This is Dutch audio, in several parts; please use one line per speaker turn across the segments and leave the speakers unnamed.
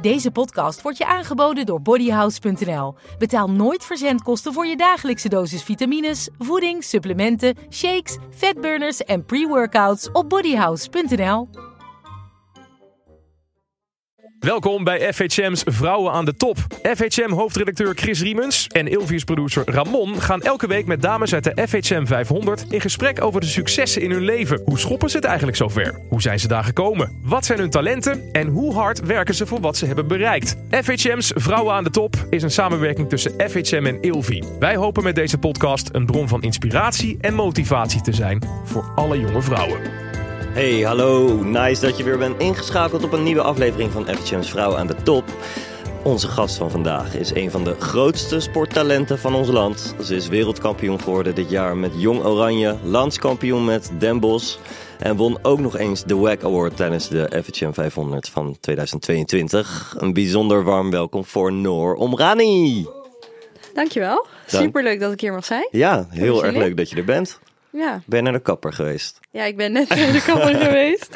Deze podcast wordt je aangeboden door bodyhouse.nl. Betaal nooit verzendkosten voor je dagelijkse dosis vitamines, voeding, supplementen, shakes, fatburners en pre-workouts op bodyhouse.nl.
Welkom bij FHM's Vrouwen aan de Top. FHM-hoofdredacteur Chris Riemens en Ilvius-producer Ramon gaan elke week met dames uit de FHM 500 in gesprek over de successen in hun leven. Hoe schoppen ze het eigenlijk zover? Hoe zijn ze daar gekomen? Wat zijn hun talenten? En hoe hard werken ze voor wat ze hebben bereikt? FHM's Vrouwen aan de Top is een samenwerking tussen FHM en Ilvi. Wij hopen met deze podcast een bron van inspiratie en motivatie te zijn voor alle jonge vrouwen.
Hey, hallo. Nice dat je weer bent ingeschakeld op een nieuwe aflevering van FHM's Vrouw aan de Top. Onze gast van vandaag is een van de grootste sporttalenten van ons land. Ze is wereldkampioen geworden dit jaar met Jong Oranje, landskampioen met Den Bosch en won ook nog eens de WAC Award tijdens de FHM 500 van 2022. Een bijzonder warm welkom voor Noor Omrani.
Dankjewel.
Dank.
Superleuk dat ik hier mag zijn.
Ja, heel erg
jullie.
leuk dat je er bent.
Ja,
Ben je naar de kapper geweest?
ja ik ben net in de kapper geweest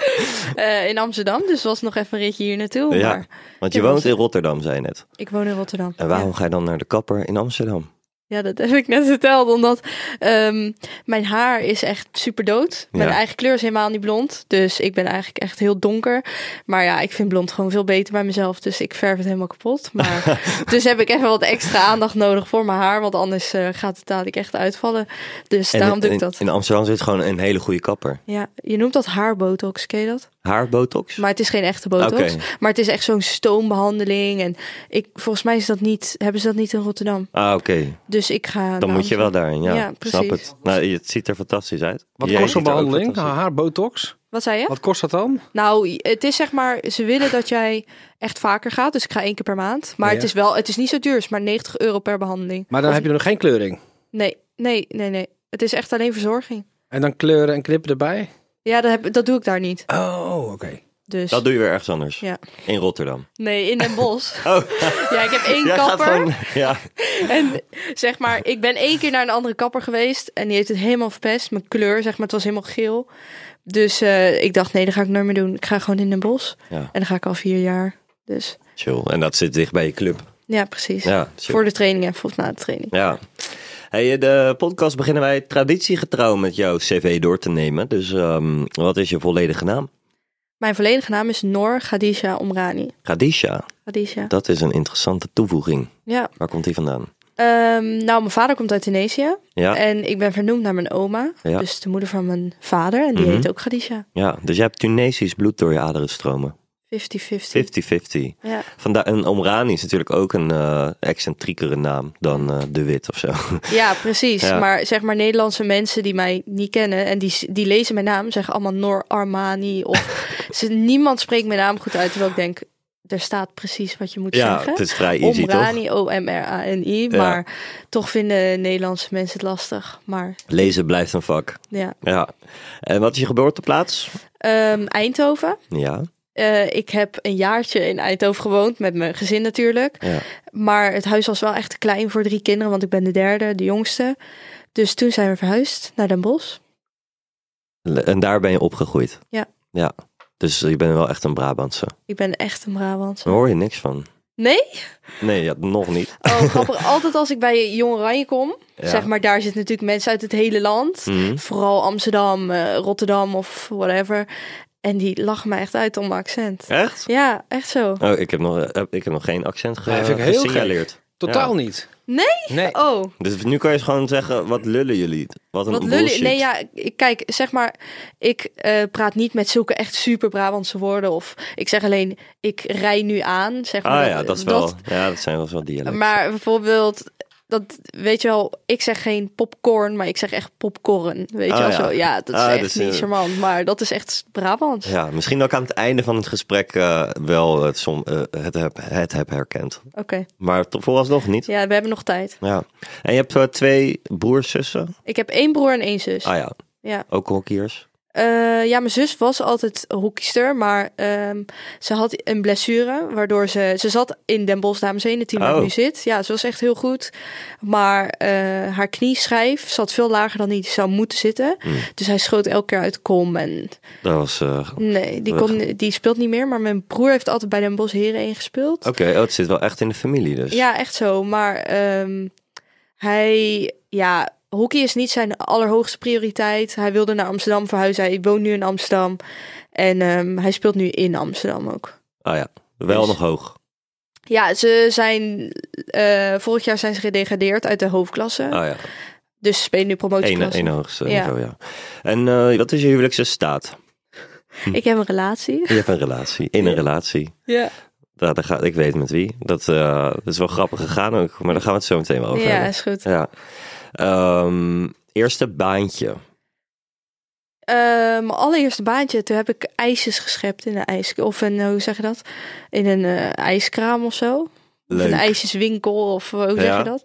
eh, in Amsterdam, dus was nog even een ritje hier naartoe.
ja,
Maar
want je
Ja, was-
woont in Rotterdam, zei je net.
ik woon in Rotterdam.
En waarom
Ja.
ga je dan naar de kapper in Amsterdam?
Ja, dat heb ik net verteld, omdat ehm, mijn haar is echt super dood. Mijn
Ja.
eigen kleur is helemaal niet blond, dus ik ben eigenlijk echt heel donker. Maar ja, ik vind blond gewoon veel beter bij mezelf, dus ik verf het helemaal kapot. Maar, dus heb ik even wat extra aandacht nodig voor mijn haar, want anders eh, gaat het dadelijk echt uitvallen. Dus
En
daarom
in-
doe ik
in-
dat.
In Amsterdam zit gewoon een hele goede kapper.
Ja, je noemt dat haarbotox, ken je dat?
Haarbotox?
Maar het is geen echte botox.
Oké.
Maar het is echt zo'n stoombehandeling. En ik, volgens mij is dat niet, hebben ze dat niet in Rotterdam.
Ah, oké.
Dus ik ga.
Dan moet je wel daarin. Ja,
Ja, precies.
Snap het. Nou, het ziet er fantastisch uit.
Wat
Jij
kost zo'n
ziet er ook
behandeling? Nou,
fantastisch uit.
Haar botox?
Wat zei je?
Wat kost dat dan?
Nou, het is zeg maar, ze willen dat jij echt vaker gaat. Dus ik ga één keer per maand. Maar
Ja.
het is wel, het is niet zo duur. Het is maar 90 euro per behandeling.
Maar dan heb je nog geen kleuring.
Nee, nee, nee, nee. Het is echt alleen verzorging.
En dan kleuren en knippen erbij?
Ja, dat, heb, dat doe ik daar niet.
Oh, oké.
Dus.
Dat doe je weer ergens anders.
Ja.
In Rotterdam.
Nee, in Den Bosch.
Oh,
ja, ik heb één
jij gaat
kapper.
gewoon... Ja,
En zeg maar, ik ben één keer naar een andere kapper geweest en die heeft het helemaal verpest. Mijn kleur, zeg maar, het was helemaal geel. Dus eh, ik dacht, nee, dat ga ik nooit meer doen. Ik ga gewoon in Den bos.
Ja.
En dan ga ik al vier jaar. Dus
chill. En dat zit dicht bij je club.
ja, precies.
Ja, chill.
Voor de training en volgens na de training.
Ja. Hey, de podcast beginnen wij traditiegetrouw met jouw cv door te nemen. Dus ehm, wat is je volledige naam?
Mijn volledige naam is Noor Khadija Omrani.
Khadisha.
Khadija.
Dat is een interessante toevoeging.
Ja.
Waar komt die vandaan?
Ehm, nou, mijn vader komt uit Tunesië.
Ja,
En ik ben vernoemd naar mijn oma.
Ja.
Dus de moeder van mijn vader. En die
Mhm.
heet ook Khadija.
ja. dus je hebt Tunesisch bloed door je aderen stromen.
50-50.
50-50.
Ja.
Vandaar, en Omrani is natuurlijk ook een eh, excentriekere naam dan eh, De Wit of zo.
Ja, precies.
Ja.
Maar zeg maar Nederlandse mensen die mij niet kennen en die, die lezen mijn naam, zeggen allemaal Noor Armani. Of ze, niemand spreekt mijn naam goed uit. Terwijl ik denk, er staat precies wat je moet
ja,
zeggen.
het is vrij easy toch?
Omrani, O-M-R-A-N-I.
Ja.
Maar toch vinden Nederlandse mensen het lastig. Maar
Lezen blijft een vak.
ja.
Ja. En wat is je geboorteplaats?
Ehm, Eindhoven.
Ja,
Eh, ik heb een jaartje in Eindhoven gewoond, met mijn gezin natuurlijk.
Ja.
Maar het huis was wel echt te klein voor drie kinderen, want ik ben de derde, de jongste. Dus toen zijn we verhuisd naar Den Bosch.
Le- en daar ben je opgegroeid.
Ja.
Ja, dus je bent wel echt een Brabantse.
Ik ben echt een Brabant.
Daar hoor je niks van.
Nee?
Nee, ja, nog niet.
Oh, grappig. Altijd als ik bij Jong Oranje kom,
Ja.
zeg maar, daar zitten natuurlijk mensen uit het hele land.
Mhm.
Vooral Amsterdam, eh, Rotterdam of whatever. En die lachen mij echt uit om mijn accent.
Echt?
Ja, echt zo.
Oh, ik heb nog, eh, ik heb nog geen accent ge
Nee, vind ik heel
gesignaleerd.
Totaal
Ja.
niet.
Nee?
Nee.
Oh,
Dus nu kan je gewoon zeggen, wat lullen jullie? Wat een
wat lullig.
bullshit.
Nee, ja, ik- kijk, zeg maar, ik eh, praat niet met zulke echt super Brabantse woorden. Of ik zeg alleen, ik rij nu aan. Zeg maar,
Ah ja, dat is wel, ja, dat zijn wel eens wel dialecten.
Maar bijvoorbeeld, Dat weet je wel, ik zeg geen popcorn, maar ik zeg echt popcorn. Weet
Oh,
je wel
ja.
zo. Ja, dat is
Ah,
echt
dus,
niet
eh,
charmant, maar dat is echt Brabants.
Ja, misschien dat ik aan het einde van het gesprek eh, wel het, som, eh, het, heb, het heb herkend.
Oké,
Maar to- vooralsnog niet. Ja.
ja, we hebben nog tijd.
En je hebt eh, twee broers, zussen?
Ik heb één broer en één zus.
Ah ja,
Ja.
ook hockeyers.
Eh, ja, mijn zus was altijd hockeyster, maar ehm, ze had een blessure, waardoor ze... Ze zat in Den Bosch, dames en heren, het team waar ik
Oh.
nu zit. Ja, ze was echt heel goed. Maar eh, haar knieschijf zat veel lager dan die zou moeten zitten.
Hmm.
Dus hij schoot elke keer uit de kom en...
Dat was... eh,
Nee, die, kon, die speelt niet meer, maar mijn broer heeft altijd bij Den Bosch Heren 1 gespeeld.
Oké, oh, het zit wel echt in de familie dus.
Ja, echt zo. Maar ehm, hij, ja, hockey is niet zijn allerhoogste prioriteit. Hij wilde naar Amsterdam verhuizen. Hij woont nu in Amsterdam. En ehm, hij speelt nu in Amsterdam ook.
Ah ja, wel
Dus-
nog hoog.
Ja, ze zijn, eh, vorig jaar zijn ze gedegradeerd uit de hoofdklasse.
Ah ja,
Dus ze spelen nu
één
promotieklasse.
één hoogste
Ja.
niveau, ja. En eh, wat is je huwelijkse staat? Hm.
Ik heb een relatie.
Je hebt een relatie, in een relatie.
Ja.
Nou, daar ga, ik weet met wie. Dat, eh, dat is wel grappig gegaan ook, maar daar gaan we het zo meteen wel over
Ja,
hebben.
is goed.
Ja. Ehm, eerste baantje.
Eh, mijn allereerste baantje, toen heb ik ijsjes geschept in een ijs... Of een, eh, hoe zeg je dat? In een eh, ijskraam of zo. Of
Leuk.
een ijsjeswinkel of eh, hoe zeg
Ja.
je dat?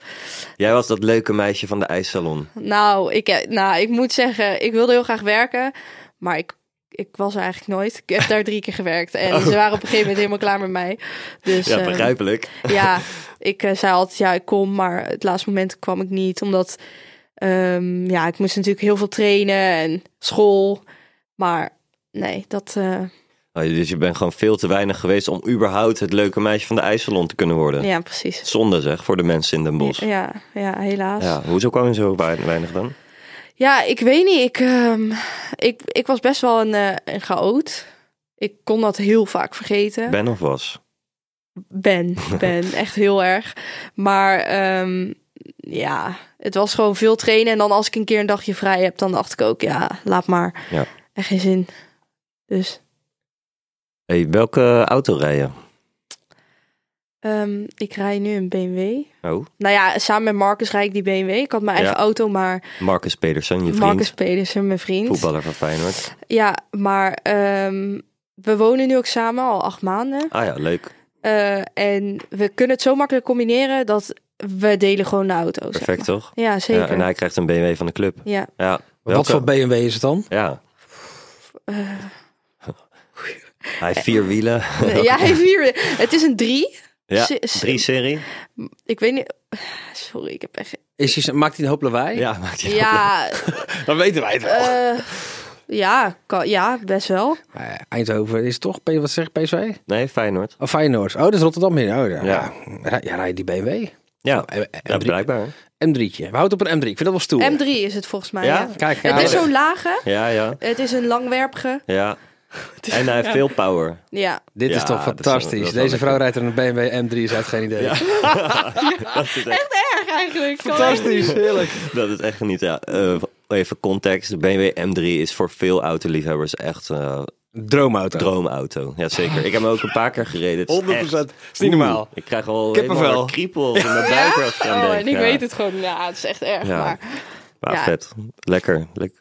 Jij was dat leuke meisje van de ijssalon.
Nou ik, eh, nou, ik moet zeggen, ik wilde heel graag werken, maar ik, ik was er eigenlijk nooit. Ik heb daar drie keer gewerkt en ze waren op een gegeven moment helemaal klaar met mij. Dus
Oh. Ja,
eh,
begrijpelijk.
ja, ik eh, zei altijd ja, ik kom, maar het laatste moment kwam ik niet, omdat ehm, ja, ik moest natuurlijk heel veel trainen en school, maar nee, dat eh,
Oh, dus je bent gewoon veel te weinig geweest om überhaupt het leuke meisje van de ijssalon te kunnen worden.
ja, precies.
Zonde zeg, voor de mensen in Den Bosch. Ja,
Ja, ja, helaas.
hoezo kwam je zo wei- weinig dan?
Ja, ik weet niet. Ik, ehm, ik, ik was best wel een, eh een chaot. Ik kon dat heel vaak vergeten.
Ben of was?
Ben, ben, echt heel erg. Maar ehm, ja, het was gewoon veel trainen. En dan als ik een keer een dagje vrij heb, dan dacht ik ook, ja, laat maar.
Ja.
Echt geen zin. Dus
Hey, welke auto rij je?
ehm, ik rij nu een BMW.
Oh,
Nou ja, samen met Marcus rijd ik die BMW. Ik had mijn eigen
Ja.
auto, maar
Marcus Pedersen, je vriend.
Marcus Pedersen, mijn vriend.
Voetballer van Feyenoord.
Ja, maar ehm, we wonen nu ook samen al acht maanden.
Ah ja, leuk.
Eh, en we kunnen het zo makkelijk combineren dat we delen gewoon de auto's. zeg
Perfect toch?
maar. Ja,
Ja,
zeker.
en hij krijgt een BMW van de club.
Ja.
Ja.
Wat
welke-
voor BMW is het dan?
Ja.
Eh,
Hij heeft vier wielen.
Nee, ja, hij vier. Het is een drie.
Ja,
se- se-
drie serie.
Ik weet niet. Sorry, ik heb echt.
Is hij, maakt hij een hoop lawaai?
Ja, maakt hij
Ja,
Dan weten wij het wel.
eh, ja, kan, ja, best wel.
Maar ja, Eindhoven is toch, P- wat zegt PSV?
Nee, Feyenoord.
Oh, Feyenoord. Oh, dat is Rotterdam hier. Oh, ja.
Ja.
Ja. Rij- ja, rij die Oh, BMW.
Ja,
M- M3.
ja blijkbaar.
M3'tje. We houden op een M3. Ik vind dat wel stoer.
M3 is het volgens mij.
Ja?
Ja?
Kijk, ja,
Het is
maar-
zo'n lage.
Ja, ja,
Het is een langwerpige.
ja. En hij heeft veel power.
Ja.
dit
Ja,
is toch
dat is-
fantastisch.
dat is wel
Deze vrouw
lekker.
rijdt er een BMW M3. Ze heeft geen idee.
Erg eigenlijk.
Fantastisch. Heerlijk.
Dat is echt niet. Ja. Eh, even context. De BMW M3 is voor veel autoliefhebbers echt eh,
Droomauto.
droomauto. Jazeker. Ik heb hem ook een paar keer gereden. Het is
100%.
echt-
Is niet
Oeh,
normaal.
Ik krijg al
Kippenvel.
helemaal kriepel in mijn buik. als ik aan
Oh,
denk.
en ik
Ja.
weet het gewoon. Ja, het is echt erg.
Ja.
Maar
Maar
Ja.
vet. Lekker. lekker.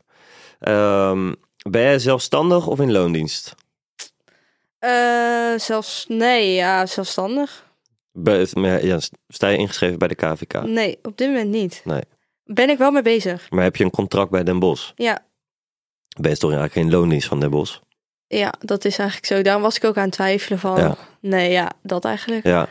Ehm, ben jij zelfstandig of in loondienst?
Eh, zelfs, nee, ja, zelfstandig.
Bij- ja, sta je ingeschreven bij de KVK?
Nee, op dit moment niet.
Nee.
Ben ik wel mee bezig.
Maar heb je een contract bij Den Bosch?
Ja,
Ben je toch eigenlijk geen loondienst van Den Bosch?
ja, dat is eigenlijk zo. Daarom was ik ook aan het twijfelen van.
Ja.
Nee, ja, dat eigenlijk.
Ja.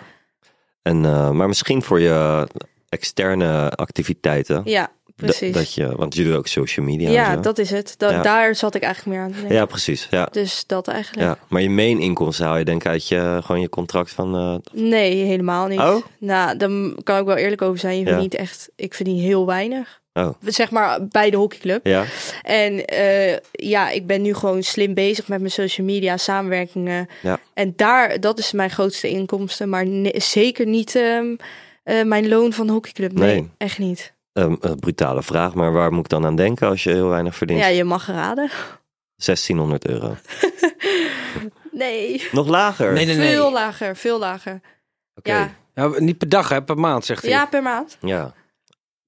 En, eh, maar misschien voor je externe activiteiten.
Ja,
Da-
precies.
Dat je, want jullie doen ook social media.
ja,
en zo.
dat is het. Dat,
Ja.
Daar zat ik eigenlijk meer aan te denken.
ja precies. Ja.
Dus dat eigenlijk.
Ja. Maar je main inkomsten haal je denk ik uit je, gewoon je contract van... eh,
Nee, helemaal niet.
Oh?
Nou, daar kan ik wel eerlijk over zijn. Je
Ja.
verdient echt, ik verdien heel weinig.
oh,
Zeg maar bij de hockeyclub.
ja.
En eh, ja, ik ben nu gewoon slim bezig met mijn social media, samenwerkingen.
Ja.
En daar, dat is mijn grootste inkomsten. Maar ne- zeker niet ehm, eh, mijn loon van de hockeyclub. Nee,
Nee.
echt niet.
Ehm, een brutale vraag, maar waar moet ik dan aan denken als je heel weinig verdient?
Ja, je mag raden.
1600 euro.
Nee,
Nog lager?
Nee, nee, nee.
veel lager, veel lager.
Oké.
Ja.
Nou, niet per dag, hè, per maand, zegt hij.
Ja, per maand.
Ja.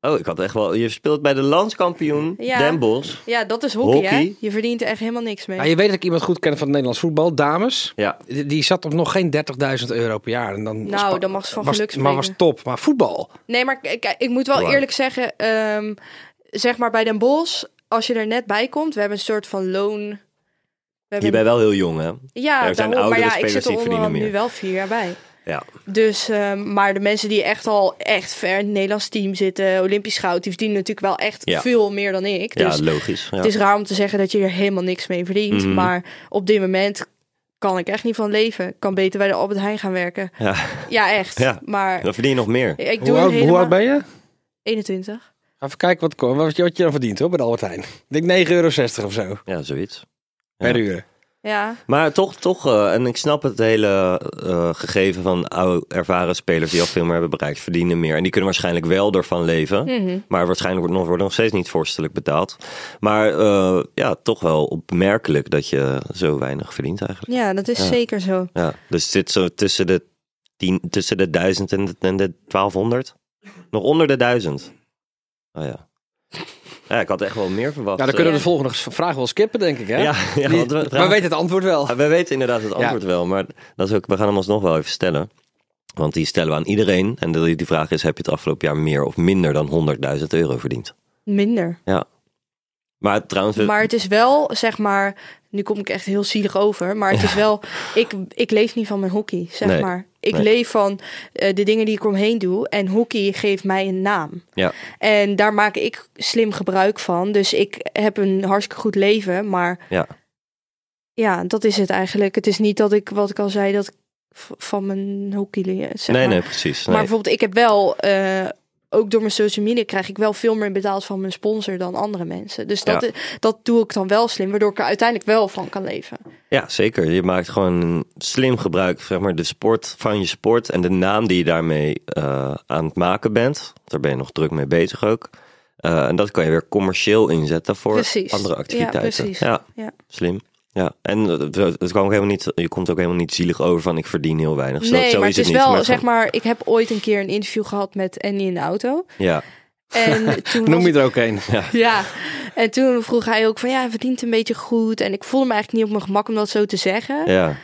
Oh, ik had echt wel. Je speelt bij de landskampioen
Ja.
Den Bosch.
Ja, dat is hockey,
Hockey?
hè? Je verdient er echt helemaal niks mee.
Maar je weet dat ik iemand goed ken van het Nederlands voetbal, dames.
Ja.
Die die zat op nog geen 30.000 euro per jaar. En dan
Nou, dan mag ze van
was,
geluk
Maar
spreken.
was top. Maar voetbal.
Nee, maar k- kijk, ik moet wel
Waar?
eerlijk zeggen, ehm, zeg maar bij Den Bosch, als je er net bij komt, we hebben een soort van loon. We hebben-
Je bent wel heel jong, hè?
Ja,
er zijn
daarom,
oudere
maar ja, ik
spelers
zit er
die verdienen
onderhand
meer.
nu wel vier jaar bij.
Ja.
Dus, ehm, maar de mensen die echt al echt ver in het Nederlands team zitten, Olympisch goud, die verdienen natuurlijk wel echt
Ja.
veel meer dan ik. Dus
ja, logisch. Ja.
het is raar om te zeggen dat je er helemaal niks mee verdient.
Mhm.
Maar op dit moment kan ik echt niet van leven. Ik kan beter bij de Albert Heijn gaan werken.
Ja.
Ja, echt.
Ja.
Maar
Dan verdien je nog meer.
ik doe
Hoe
het
oud, hoe
helemaal...
oud ben je?
21.
Ga Even kijken wat, ko- wat, je, wat je dan verdient hoor, bij de Albert Heijn. Ik denk 9,60 euro of zo
Ja, zoiets.
per uur.
Ja.
Maar toch, toch, eh, en ik snap het hele eh, gegeven van oude, ervaren spelers die al veel meer hebben bereikt, verdienen meer. En die kunnen waarschijnlijk wel ervan leven. Maar waarschijnlijk wordt nog, worden nog steeds niet vorstelijk betaald. Maar eh, ja, toch wel opmerkelijk dat je zo weinig verdient eigenlijk.
ja, dat is
Ja.
zeker zo.
Ja, dus het zit zo tussen de, tien, tussen de 1000 en de, en de 1200. Nog onder de 1000. Oh ja. Ja, ik had echt wel meer verwacht. eh.
Nou, dan kunnen we
Ja.
de volgende vraag wel skippen, denk ik. Hè?
ja, ja,
Die-
want we-
maar weet het antwoord wel.
Ah, Wij weten inderdaad het antwoord wel, maar dat is ook, we gaan hem alsnog wel even stellen. Want die stellen we aan iedereen. En de- die vraag is, heb je het afgelopen jaar meer of minder dan 100.000 euro verdiend?
Minder.
Ja. Maar trouwens, we-
Maar het is wel, zeg maar, nu kom ik echt heel zielig over, maar het is wel, ik, ik leef niet van mijn hockey, zeg
Nee,
maar. Ik
nee.
leef van eh, de dingen die ik omheen doe en hockey geeft mij een naam.
ja,
En daar maak ik slim gebruik van, dus ik heb een hartstikke goed leven, maar
ja,
ja, dat is het eigenlijk. Het is niet dat ik, wat ik al zei, dat ik v- van mijn hockey leer, zeg
nee,
maar.
nee, precies. Nee.
Maar bijvoorbeeld, ik heb wel, eh, ook door mijn social media krijg ik wel veel meer betaald van mijn sponsor dan andere mensen. Dus dat,
Ja.
dat doe ik dan wel slim, waardoor ik er uiteindelijk wel van kan leven.
Ja, zeker. Je maakt gewoon slim gebruik zeg maar, de sport, van je sport en de naam die je daarmee eh, aan het maken bent. Daar ben je nog druk mee bezig ook. Eh, en dat kan je weer commercieel inzetten voor
Precies.
andere
Ja,
activiteiten.
precies.
Ja, Dus
Ja.
slim. Ja, en het het kwam ook helemaal niet, je komt ook helemaal niet zielig over van ik verdien heel weinig. Zo,
nee,
zo
maar
is
het is
niet,
wel,
maar
zeg
gewoon-
maar, ik heb ooit een keer een interview gehad met Annie in de auto.
Ja,
En toen was
Noem je er ook een. Ja.
Ja, en toen vroeg hij ook van ja, hij verdient een beetje goed. En ik voelde me eigenlijk niet op mijn gemak om dat zo te zeggen.
ja,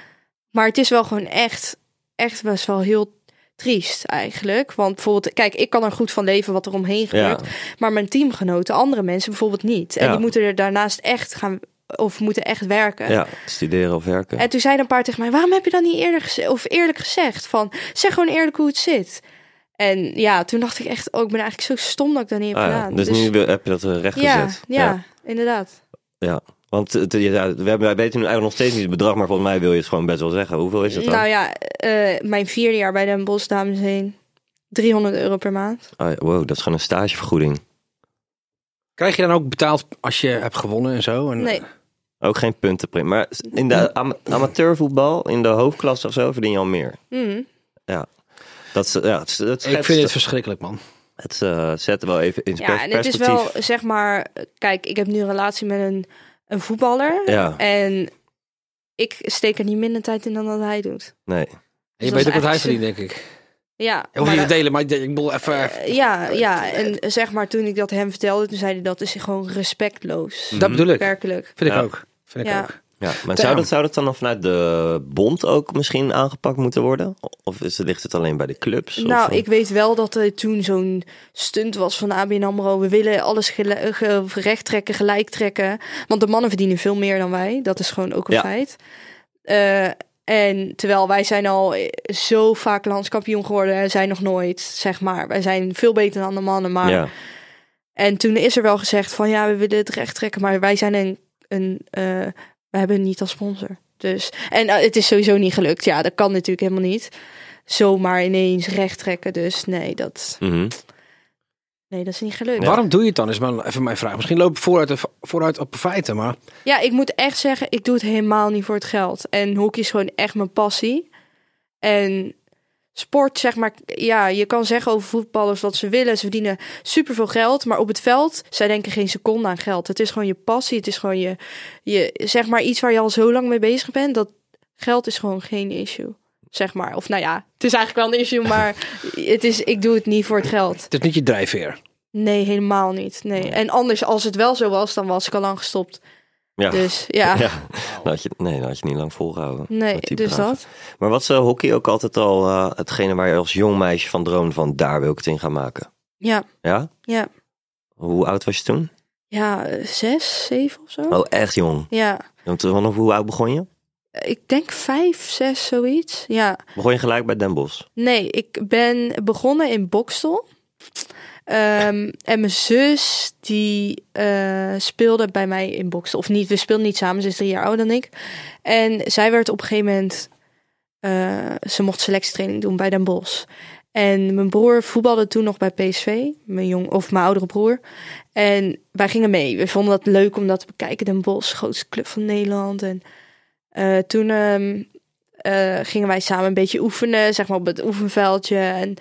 Maar het is wel gewoon echt, echt best wel heel triest eigenlijk. Want bijvoorbeeld, kijk, ik kan er goed van leven wat er omheen
ja,
gebeurt. Maar mijn teamgenoten, andere mensen bijvoorbeeld niet. En
Ja.
die moeten er daarnaast echt gaan, of moeten echt werken.
ja, studeren of werken.
En toen zei een paar tegen mij, waarom heb je dat niet eerder gezegd? Of eerlijk gezegd, van zeg gewoon eerlijk hoe het zit. En ja, toen dacht ik echt, oh, ik ben eigenlijk zo stom dat ik dat niet heb
Ah, ja.
gedaan.
Dus, nu wil- heb je dat eh, recht
ja,
gezet.
ja, inderdaad.
Ja, want het- ja, we, hebben, wij weten nu eigenlijk nog steeds niet het bedrag, maar volgens mij wil je het gewoon best wel zeggen. Hoeveel is het dan?
Nou ja, eh, mijn vierde jaar bij Den Bosch, dames en heren. 300 euro per maand.
Ah, ja, wow, dat is gewoon een stagevergoeding.
Krijg je dan ook betaald als je hebt gewonnen en zo?
Oh,
En,
Nee,
Ook geen puntenprint. Maar in de ama- amateurvoetbal, in de hoofdklasse of zo, verdien je al meer.
mm,
Dat, is- ja, het, het,
Ik vind het verschrikkelijk, man.
het eh, zet wel even in
Ja, en het is
perspectief.
wel, zeg maar, kijk, ik heb nu een relatie met een, een voetballer.
Ja,
En ik steek er niet minder tijd in dan dat hij doet.
nee.
En
Dus
je
dat
weet
is
ook wat hij
eigenlijk
verdient, denk ik.
Ja,
Heel
maar
veel
dat-
delen, maar ik denk- ik bedoel even...
eh, ja, ja, en zeg maar, toen ik dat hem vertelde, toen zei hij dat is gewoon respectloos.
dat bedoel ik.
Werkelijk.
Vind ik
Mhm. Ja.
ook. Vind ik
Ja.
ook.
Ja, maar zou
Damn.
dat, zou dat dan nog vanuit de bond ook misschien aangepakt moeten worden? Of is, ligt het alleen bij de clubs? Of,
Nou,
eh,
ik weet wel dat er toen zo'n stunt was van ABN AMRO. We willen alles gele- eh, ge- recht trekken, gelijk trekken. Want de mannen verdienen veel meer dan wij. Dat is gewoon ook een
Ja.
feit. Eh, en terwijl wij zijn al eh, zo vaak landskampioen geworden. en Zij nog nooit, zeg maar. Wij zijn veel beter dan de mannen. Maar...
eh, Ja,
En toen is er wel gezegd van ja, we willen het recht trekken. Maar wij zijn een... een eh, we hebben niet als sponsor. Dus, en eh, het is sowieso niet gelukt. Ja, dat kan natuurlijk helemaal niet. Zomaar ineens recht trekken. Dus nee, dat...
mhm.
Nee, dat is niet gelukt.
Waarom doe je het dan? Is maar even mijn vraag. Misschien loop ik vooruit, vooruit op feiten, maar...
Ja, ik moet echt zeggen, ik doe het helemaal niet voor het geld. En hockey is gewoon echt mijn passie. En sport, zeg maar, ja, je kan zeggen over voetballers wat ze willen. Ze verdienen superveel geld, maar op het veld, zij denken geen seconde aan geld. Het is gewoon je passie, het is gewoon je, je zeg maar, iets waar je al zo lang mee bezig bent. Dat geld is gewoon geen issue. zeg maar. Of nou ja, het is eigenlijk wel een issue, maar het is, ik doe het niet voor het geld.
Het is niet je drijfveer.
Nee, helemaal niet. Nee. En anders, als het wel zo was, dan was ik al lang gestopt.
Ja.
Dus ja,
Ja, dan had je, nee, dan had je niet lang volgehouden.
nee,
met die
dus
praat.
dat.
Maar wat is eh, hockey ook altijd al eh, hetgene waar je als jong meisje van droomde van daar wil ik het in gaan maken?
Ja,
Ja?
ja.
Hoe oud was je toen?
Ja, eh, zes, zeven of zo.
Oh, echt jong.
Ja,
Want eh, vanaf hoe oud begon je?
Eh, ik denk vijf, zes, zoiets. Ja,
Begon je gelijk bij Den Bosch?
nee, ik ben begonnen in Bokstel. Ehm, en mijn zus, die eh, speelde bij mij in Bokstel. Of niet, we speelden niet samen, ze is drie jaar ouder dan ik. En zij werd op een gegeven moment... eh, ze mocht selectietraining doen bij Den Bosch. En mijn broer voetbalde toen nog bij PSV, mijn jong of mijn oudere broer. En wij gingen mee. We vonden dat leuk om dat te bekijken. Den Bosch, grootste club van Nederland. En eh, toen ehm, eh, gingen wij samen een beetje oefenen, zeg maar op het oefenveldje. En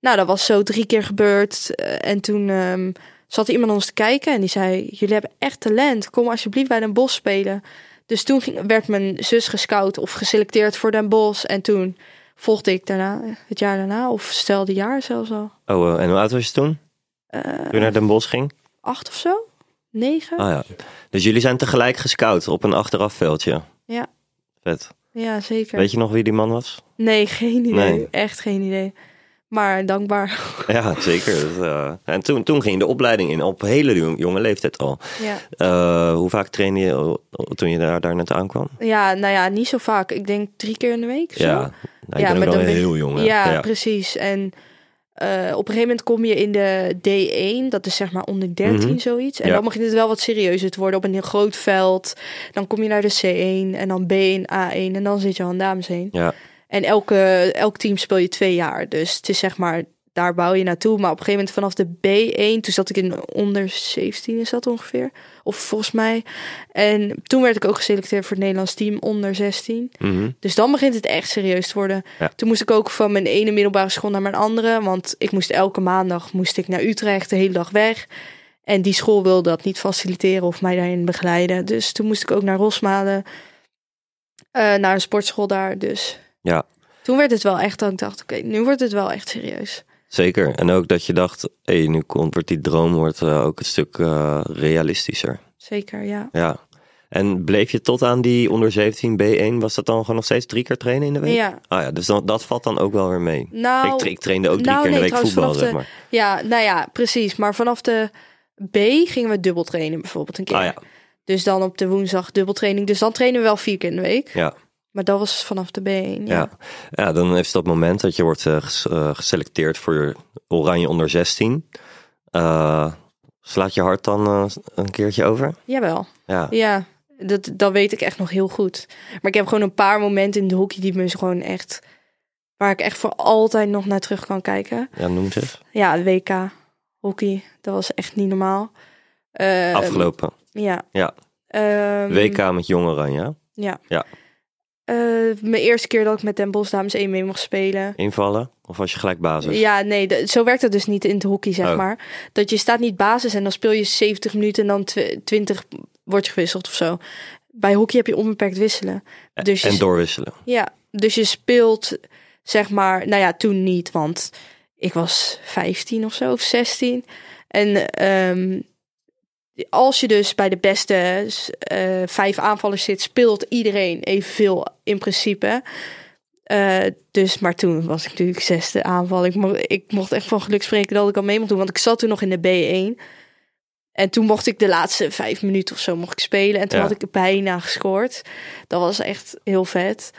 nou, dat was zo drie keer gebeurd. Eh, en toen ehm, zat iemand ons te kijken en die zei: Jullie hebben echt talent. Kom alsjeblieft bij Den Bosch spelen. Dus toen ging, werd mijn zus gescout of geselecteerd voor Den Bosch. En toen volgde ik daarna, het jaar daarna, of stelde jaar zelfs al.
Oh, eh, en hoe oud was je toen?
Eh,
Toen je naar Den Bosch ging?
acht of zo? Negen?
Ah ja. Dus jullie zijn tegelijk gescout op een achterafveldje?
Ja.
Vet.
Ja, zeker.
Weet je nog wie die man was?
Nee, geen idee.
Nee.
Echt geen idee. Maar dankbaar.
Ja, zeker. Dat, eh, En toen, toen ging je de opleiding in, op hele jong- jonge leeftijd al.
Ja.
Eh, hoe vaak trainde je eh, toen je daar, daar net aankwam?
ja, nou ja, niet zo vaak. Ik denk drie keer in de week. zo.
Ja, nou, ik ben ook
maar
nog
dan ben-
heel jong. hè.
Ja, precies. En eh, op een gegeven moment kom je in de D1, dat is zeg maar onder 13
Mhm.
zoiets. En
Ja.
dan begint het wel wat serieuzer te worden op een heel groot veld. Dan kom je naar de C1 en dan B1, A1 en dan zit je aan dames heen.
Ja.
En elke, elk team speel je twee jaar. Dus het is zeg maar, daar bouw je naartoe. Maar op een gegeven moment vanaf de B1, toen zat ik in onder 17 is dat ongeveer. Of volgens mij. En toen werd ik ook geselecteerd voor het Nederlands team onder 16.
Mhm.
Dus dan begint het echt serieus te worden.
Ja.
Toen moest ik ook van mijn ene middelbare school naar mijn andere. Want ik moest elke maandag moest ik naar Utrecht, de hele dag weg. En die school wilde dat niet faciliteren of mij daarin begeleiden. Dus toen moest ik ook naar Rosmalen, eh, naar een sportschool daar. Dus
Ja.
toen werd het wel echt dat ik dacht, oké, nu wordt het wel echt serieus.
Zeker. En ook dat je dacht, hé, nu komt, wordt die droom wordt, eh, ook een stuk eh, realistischer.
Zeker, ja.
Ja. En bleef je tot aan die onder 17 B1, was dat dan gewoon nog steeds drie keer trainen in de week?
Ja.
Ah ja, dus dan, dat valt dan ook wel weer mee.
Nou,
ik, tra- ik trainde ook drie
nou,
keer in de
nee,
week
trouwens,
voetbal,
vanaf
zeg
de-
maar.
ja, nou ja, precies. Maar vanaf de B gingen we dubbel trainen bijvoorbeeld een keer.
Ah ja,
Dus dan op de woensdag dubbeltraining. Dus dan trainen we wel vier keer in de week.
ja,
Maar dat was vanaf de B1. Ja.
ja. Ja, dan heeft dat moment dat je wordt eh, ges- eh, geselecteerd voor Oranje onder 16. Eh, slaat je hart dan eh, een keertje over?
Jawel.
Ja.
Ja, dat, dat weet ik echt nog heel goed. Maar ik heb gewoon een paar momenten in de hockey die me gewoon echt. Waar ik echt voor altijd nog naar terug kan kijken.
ja, noem het eens.
Ja, WK hockey. Dat was echt niet normaal. Eh,
Afgelopen
Ja.
Ja.
Ehm,
WK met Jong Oranje. hè?
Ja.
Ja.
Eh, mijn eerste keer dat ik met Den Bosch Dames 1 mee mocht spelen.
Invallen? Of was je gelijk basis?
Ja, nee, d- zo werkt dat dus niet in het hockey, zeg
Oh.
maar. Dat je staat niet basis en dan speel je 70 minuten en dan tw- 20 wordt je gewisseld of zo. Bij hockey heb je onbeperkt wisselen. Dus je,
En doorwisselen.
Ja, dus je speelt, zeg maar, nou ja, toen niet, want ik was 15 of zo, of 16. En ehm, als je dus bij de beste eh, vijf aanvallers zit, speelt iedereen evenveel in principe. Eh, dus, maar toen was ik natuurlijk zesde aanval. Ik, mo- ik mocht echt van geluk spreken dat ik al mee mocht doen, want ik zat toen nog in de B1. En toen mocht ik de laatste vijf minuten of zo mocht ik spelen. En toen
Ja.
had ik bijna gescoord. Dat was echt heel vet.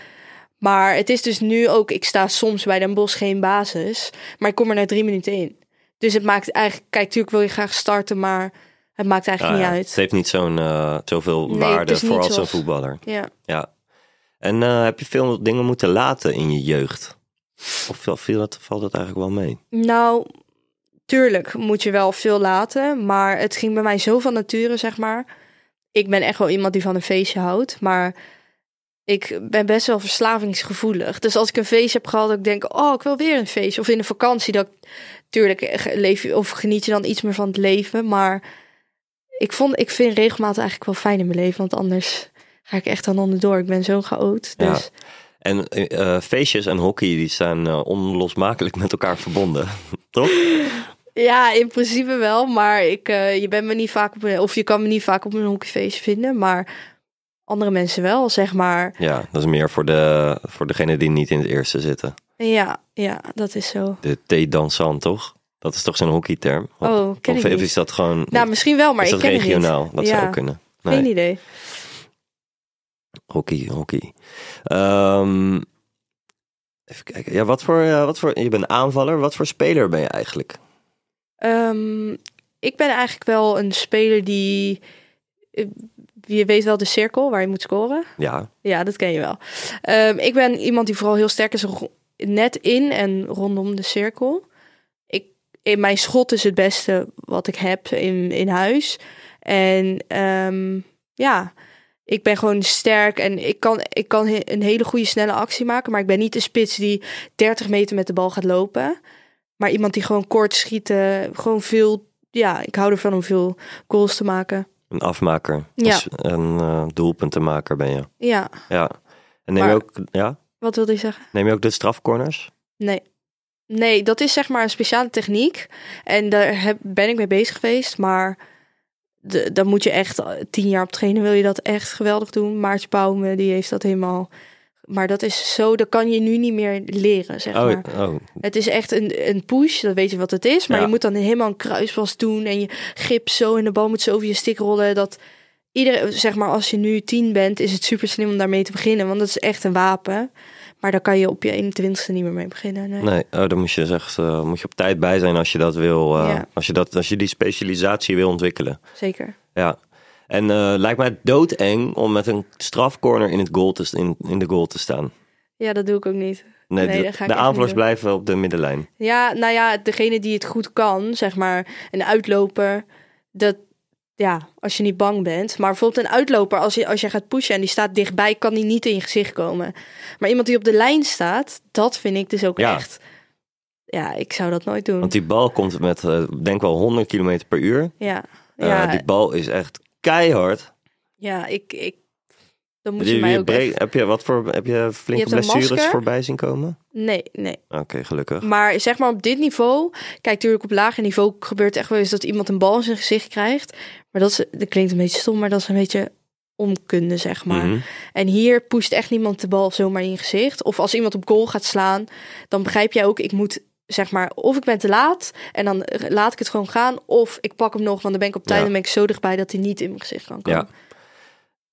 Maar het is dus nu ook, ik sta soms bij Den Bosch geen basis, maar ik kom er na drie minuten in. Dus het maakt eigenlijk, kijk, natuurlijk wil je graag starten, maar het maakt eigenlijk
Ah ja,
niet
Het
uit.
heeft niet zo'n, eh, zoveel
Nee, het
waarde
is niet
voor als een
zoals-
voetballer.
Ja.
Ja. En eh, heb je veel dingen moeten laten in je jeugd? Of viel- viel dat, valt dat eigenlijk wel mee?
Nou, tuurlijk moet je wel veel laten, maar het ging bij mij zo van nature, zeg maar. Ik ben echt wel iemand die van een feestje houdt, maar ik ben best wel verslavingsgevoelig. Dus als ik een feestje heb gehad, dat ik denk, oh, ik wil weer een feestje. Of in de vakantie, dat ik- tuurlijk eh, leef je of geniet je dan iets meer van het leven, maar ik vond, ik vind regelmatig eigenlijk wel fijn in mijn leven, want anders ga ik echt dan onderdoor. Ik ben zo'n chaot,
Ja.
dus
En eh, eh, feestjes en hockey die zijn eh, onlosmakelijk met elkaar verbonden. Toch?
Ja, in principe wel. Maar ik, eh, je bent me niet vaak op een, of je kan me niet vaak op een hockeyfeestje vinden. Maar andere mensen wel, zeg maar.
Ja, dat is meer voor, de, voor degene die niet in het eerste zitten.
Ja, ja, dat is zo.
De T-dansant, toch? Dat is toch zo'n hockeyterm? Of-
Oh, ken
of
ik niet.
is dat gewoon...
Nou, misschien wel, maar
is
ik
dat
ken het niet.
regionaal? Dat
Ja.
zou ook kunnen. Nee,
Geen idee.
hockey, hockey. Ehm, even kijken. Ja, wat voor, eh, wat voor... Je bent aanvaller. Wat voor speler ben je eigenlijk?
Ehm, ik ben eigenlijk wel een speler die... eh, Je weet wel de cirkel waar je moet scoren.
Ja,
Ja, dat ken je wel. Ehm, ik ben iemand die vooral heel sterk is ro- net in en rondom de cirkel. Ik, in mijn schot is het beste wat ik heb in, in huis. En ehm, ja, ik ben gewoon sterk en ik kan, ik kan he- een hele goede snelle actie maken. Maar ik ben niet de spits die 30 meter met de bal gaat lopen. Maar iemand die gewoon kort schieten, gewoon veel... Ja, ik hou ervan om veel goals te maken.
een afmaker.
Ja.
Dus een eh, doelpuntenmaker ben je.
Ja,
Ja. En neem,
Maar-
je ook, ja?
wat wilde je zeggen?
neem je ook de strafcorners?
Nee. Nee, dat is zeg maar een speciale techniek. En daar heb, ben ik mee bezig geweest. Maar de, daar moet je echt eh, tien jaar op trainen. Wil je dat echt geweldig doen? Maartje Bouwme, die heeft dat helemaal... Maar dat is zo, dat kan je nu niet meer leren, zeg maar.
Oh, oh,
Het is echt een, een push, dat weet je wat het is. Maar
Ja.
je moet dan helemaal een kruispas doen. En je grip zo en de bal moet zo over je stick rollen. Dat iedereen, zeg maar, als je nu tien bent, is het super slim om daarmee te beginnen. Want dat is echt een wapen. Maar daar kan je op je 21ste niet meer mee beginnen. Nee.
Nee, oh, dan moet je, dus echt, eh, moet je op tijd bij zijn als je dat wil. eh,
Ja.
als, je dat, als je die specialisatie wil ontwikkelen.
Zeker.
Ja. En eh, lijkt mij doodeng om met een strafcorner in, het goal te, in, in de goal te staan.
Ja, dat doe ik ook niet.
Nee,
Nee,
de-
dat ga ik
de
echt niet
aanvallers
doen.
blijven op de middenlijn.
Ja, nou ja, degene die het goed kan, zeg maar, een uitloper, dat, ja, als je niet bang bent. Maar bijvoorbeeld een uitloper, als je, als je gaat pushen en die staat dichtbij, kan die niet in je gezicht komen. Maar iemand die op de lijn staat, dat vind ik dus ook
Ja.
echt, ja, ik zou dat nooit doen.
Want die bal komt met, eh, denk wel 100 km per uur.
Ja,
Eh,
ja,
die bal is echt keihard.
ja, ik, ik, dan moet
Je-
je
je
mij ook
breekt-
echt-
heb, je wat voor, heb je flinke
hebt een
blessures
masker. Oh,
voorbij zien komen?
nee, nee.
Oké, gelukkig.
Maar zeg maar op dit niveau, kijk natuurlijk op lager niveau gebeurt echt wel eens dat iemand een bal in zijn gezicht krijgt. Maar dat, is, dat klinkt een beetje stom, maar dat is een beetje onkunde, zeg maar.
Mhm.
En hier pusht echt niemand de bal zomaar in je gezicht. Of als iemand op goal gaat slaan, dan begrijp jij ook, ik moet zeg maar, of ik ben te laat en dan eh, laat ik het gewoon gaan. Of ik pak hem nog, want dan ben ik op tijd
Ja.
en dan ben ik zo dichtbij dat hij niet in mijn gezicht kan komen.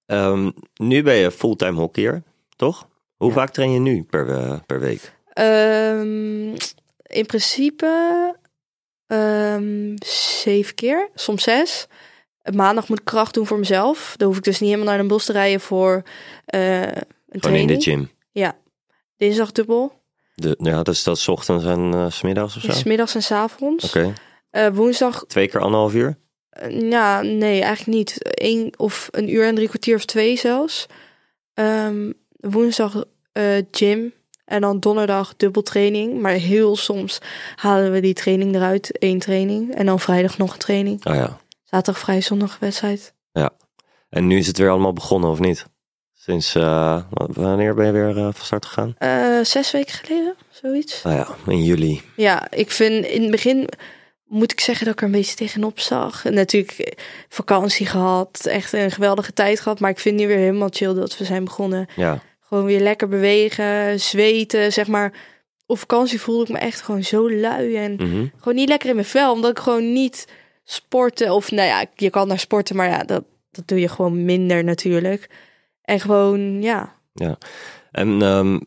Ja. Ehm, nu ben je fulltime hockeyer, toch? Hoe vaak train je nu per, eh, per week?
Ehm, in principe ehm, zeven keer, soms zes. Maandag moet ik kracht doen voor mezelf. Dan hoef ik dus niet helemaal naar Den Bosch te rijden voor eh, een
Gewoon in
training.
de gym.
Dinsdag dubbel,
De, ja, dus dat is 's ochtends en eh, 's smiddags of zo?
dus
Oké,
middags en 's avonds. Eh, woensdag,
twee keer anderhalf uur?
eh, ja, nee, eigenlijk niet. Eén of een uur en drie kwartier of twee zelfs. Ehm, woensdag eh, gym en dan donderdag dubbel training. Maar heel soms halen we die training eruit, één training. En dan vrijdag nog een training.
Oh ja.
Zaterdag vrij zondag wedstrijd.
En nu is het weer allemaal begonnen, of niet? Sinds, eh, wanneer ben je weer eh, van start gegaan?
Eh, zes weken geleden, zoiets.
Nou ja, in juli.
Ja, ik vind in het begin moet ik zeggen dat ik er een beetje tegenop zag. En natuurlijk eh, vakantie gehad, echt een geweldige tijd gehad. Maar ik vind nu weer helemaal chill dat we zijn begonnen.
Ja,
Gewoon weer lekker bewegen, zweten, zeg maar. Op vakantie voelde ik me echt gewoon zo lui en
mhm.
gewoon niet lekker in mijn vel. Omdat ik gewoon niet sporten. Of nou ja, je kan naar sporten, maar ja, dat, dat doe je gewoon minder natuurlijk. En gewoon, ja,
En ehm,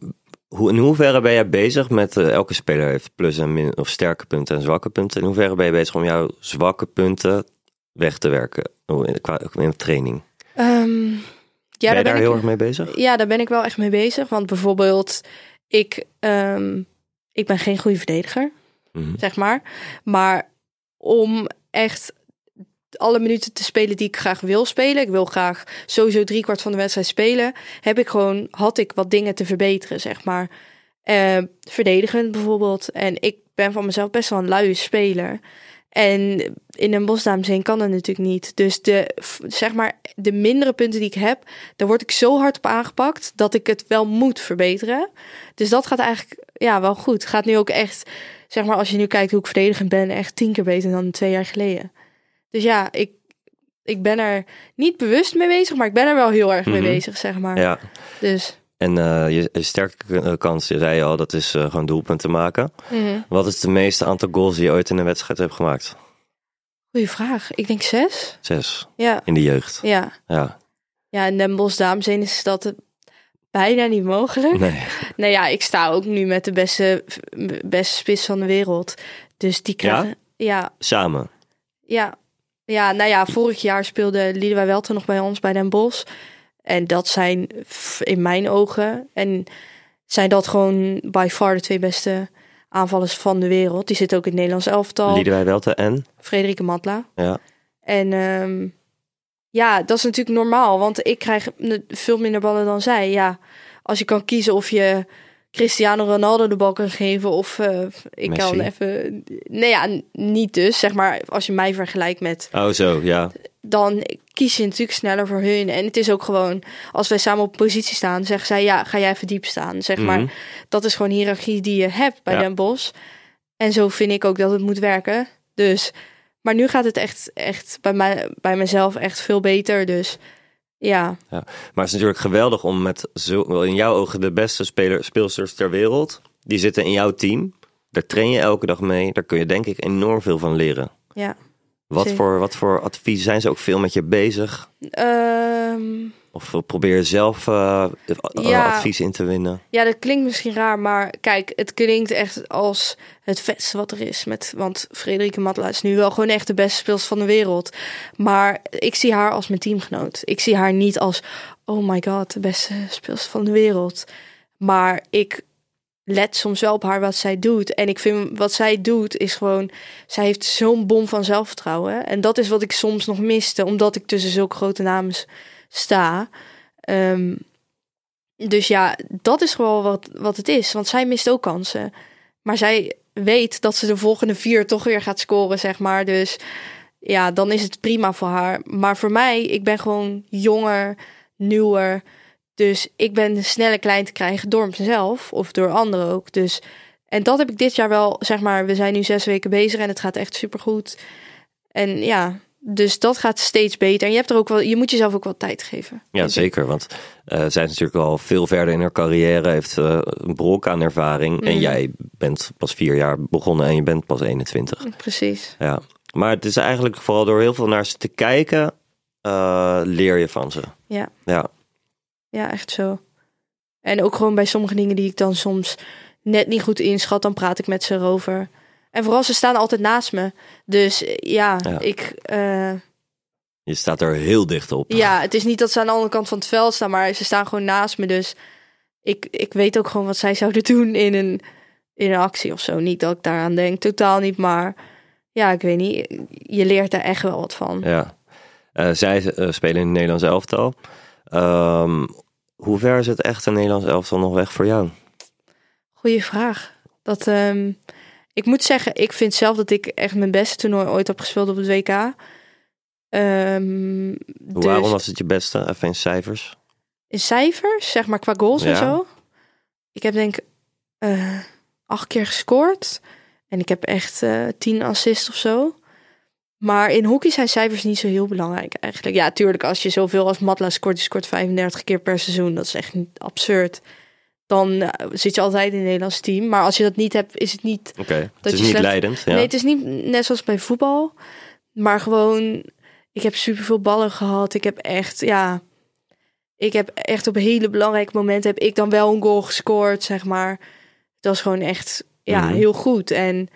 hoe, in hoeverre ben jij bezig met, eh, elke speler heeft plus en min, of sterke punten en zwakke punten. In hoeverre ben je bezig om jouw zwakke punten weg te werken oh, in, qua, in training?
Ehm, ja,
ben je
daar
daar
ben
heel
ik,
erg mee bezig?
ja, daar ben ik wel echt mee bezig. Want bijvoorbeeld, ik, ehm, ik ben geen goede verdediger,
Mhm.
zeg maar. Maar om echt alle minuten te spelen die ik graag wil spelen. Ik wil graag sowieso driekwart van de wedstrijd spelen. Heb ik gewoon, had ik wat dingen te verbeteren, zeg maar. Eh, verdedigend bijvoorbeeld. En ik ben van mezelf best wel een luie speler. En in een bosdamezeen kan dat natuurlijk niet. Dus de, f- zeg maar, de mindere punten die ik heb, daar word ik zo hard op aangepakt dat ik het wel moet verbeteren. Dus dat gaat eigenlijk ja, wel goed. Gaat nu ook echt, zeg maar, als je nu kijkt hoe ik verdedigend ben, echt tien keer beter dan twee jaar geleden. Dus ja, ik, ik ben er niet bewust mee bezig, maar ik ben er wel heel erg mee
Mhm.
bezig, zeg maar.
Ja.
Dus.
En eh, je, je sterke eh, kans, je zei al, dat is eh, gewoon doelpunten maken.
mhm.
Wat is het meeste aantal goals die je ooit in een wedstrijd hebt gemaakt?
Goeie vraag. Ik denk zes.
Zes,
Ja.
in de jeugd.
Ja.
Ja,
Ja, in Den Bosch Damenzeen is dat eh, bijna niet mogelijk.
nee.
Nee, Nou ja, ik sta ook nu met de beste, beste spits van de wereld. Dus die krijgen... Ja?
Samen.
ja, ja. nou ja, vorig jaar speelde Liedewij Welten nog bij ons, bij Den Bosch. En dat zijn f- in mijn ogen... En zijn dat gewoon by far de twee beste aanvallers van de wereld. Die zitten ook in het Nederlands elftal.
Liedewij Welte en?
Frederike Matla.
Ja.
En ehm, ja, dat is natuurlijk normaal, want ik krijg n- veel minder ballen dan zij. Ja, als je kan kiezen of je Cristiano Ronaldo de bal kan geven of eh, ik kan
Messi.
even... Nee ja, n- niet dus, zeg maar, als je mij vergelijkt met...
Oh zo, ja.
Dan kies je natuurlijk sneller voor hun. En het is ook gewoon, als wij samen op positie staan, zeggen zij, ja, ga jij even diep staan. Zeg maar,
Mhm.
dat is gewoon hiërarchie die je hebt bij
Ja.
Den Bosch. En zo vind ik ook dat het moet werken. Dus, maar nu gaat het echt, echt bij, mij, bij mezelf echt veel beter. Dus ja,
Maar het is natuurlijk geweldig om met zo, wel in jouw ogen de beste speler, speelsters ter wereld. Die zitten in jouw team. Daar train je elke dag mee. Daar kun je denk ik enorm veel van leren.
ja.
Wat
Zeker.
voor, wat voor advies zijn ze ook veel met je bezig?
Ehm,
Of probeer je zelf eh,
Ja.
advies in te winnen?
ja, dat klinkt misschien raar, maar kijk, het klinkt echt als het vetste wat er is. Met, want Frederike Matla is nu wel gewoon echt de beste speelster van de wereld. Maar ik zie haar als mijn teamgenoot. Ik zie haar niet als, oh my god, de beste speelster van de wereld. Maar ik let soms wel op haar wat zij doet. En ik vind wat zij doet is gewoon... Zij heeft zo'n bom van zelfvertrouwen. En dat is wat ik soms nog miste. Omdat ik tussen zulke grote namen sta. Ehm, dus ja, dat is gewoon wat, wat het is. Want zij mist ook kansen. Maar zij weet dat ze de volgende vier toch weer gaat scoren, zeg maar. Dus ja, dan is het prima voor haar. Maar voor mij, ik ben gewoon jonger, nieuwer. Dus ik ben sneller klein te krijgen door mezelf of door anderen ook. Dus, en dat heb ik dit jaar wel, zeg maar, we zijn nu zes weken bezig en het gaat echt supergoed. En ja, dus dat gaat steeds beter. En je, hebt er ook wel, je moet jezelf ook wel tijd geven.
Ja, zeker. Want eh, zij is natuurlijk al veel verder in haar carrière. Heeft eh, een brok aan ervaring.
Mhm.
En jij bent pas vier jaar begonnen en je bent pas 21.
Mhm. Precies.
Ja. Maar het is eigenlijk vooral door heel veel naar ze te kijken, eh, leer je van ze.
Ja.
Ja.
Ja, echt zo. En ook gewoon bij sommige dingen die ik dan soms net niet goed inschat, dan praat ik met ze erover. En vooral, ze staan altijd naast me. Dus eh, ja,
Ja.
ik. eh,
Je staat er heel dicht op.
ja, het is niet dat ze aan de andere kant van het veld staan, maar ze staan gewoon naast me. Dus ik, ik weet ook gewoon wat zij zouden doen in een, in een actie of zo. Niet dat ik daaraan denk, totaal niet. Maar ja, ik weet niet. Je leert daar echt wel wat van.
Ja. Eh, zij eh, spelen in het Nederlands elftal. Ehm, hoe ver is het echte Nederlands elftal nog weg voor jou?
Goeie vraag. Dat, ehm, ik moet zeggen, ik vind zelf dat ik echt mijn beste toernooi ooit heb gespeeld op het WK. Ehm,
Hoe-
dus
Waarom was het je beste? Even in cijfers.
In cijfers, zeg maar qua goals en
Ja.
zo. Ik heb denk ik eh, acht keer gescoord. En ik heb echt eh, tien assists of zo. Maar in hockey zijn cijfers niet zo heel belangrijk eigenlijk. Ja, tuurlijk, als je zoveel als Matla scoort, die scoort 35 keer per seizoen. Dat is echt niet absurd. Dan eh, zit je altijd in het Nederlands team. Maar als je dat niet hebt, is het niet
Oké. Het
je
is niet
slecht-
leidend. Ja.
Nee, het is niet net zoals bij voetbal. Maar gewoon, ik heb superveel ballen gehad. Ik heb echt, ja. Ik heb echt op hele belangrijke momenten heb ik dan wel een goal gescoord, zeg maar. Dat is gewoon echt, ja,
Mhm.
heel goed. En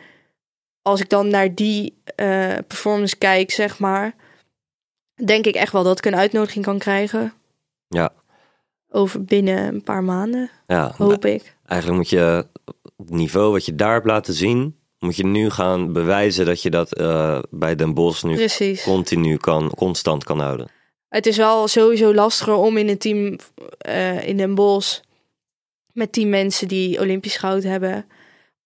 als ik dan naar die eh, performance kijk, zeg maar, denk ik echt wel dat ik een uitnodiging kan krijgen.
Ja.
Over binnen een paar maanden,
ja.
hoop ik.
Eigenlijk moet je het niveau wat je daar hebt laten zien, moet je nu gaan bewijzen dat je dat eh, bij Den Bosch nu
Precies.
continu kan, constant kan houden.
Het is wel sowieso lastiger om in een team eh, in Den Bosch met tien mensen die Olympisch goud hebben,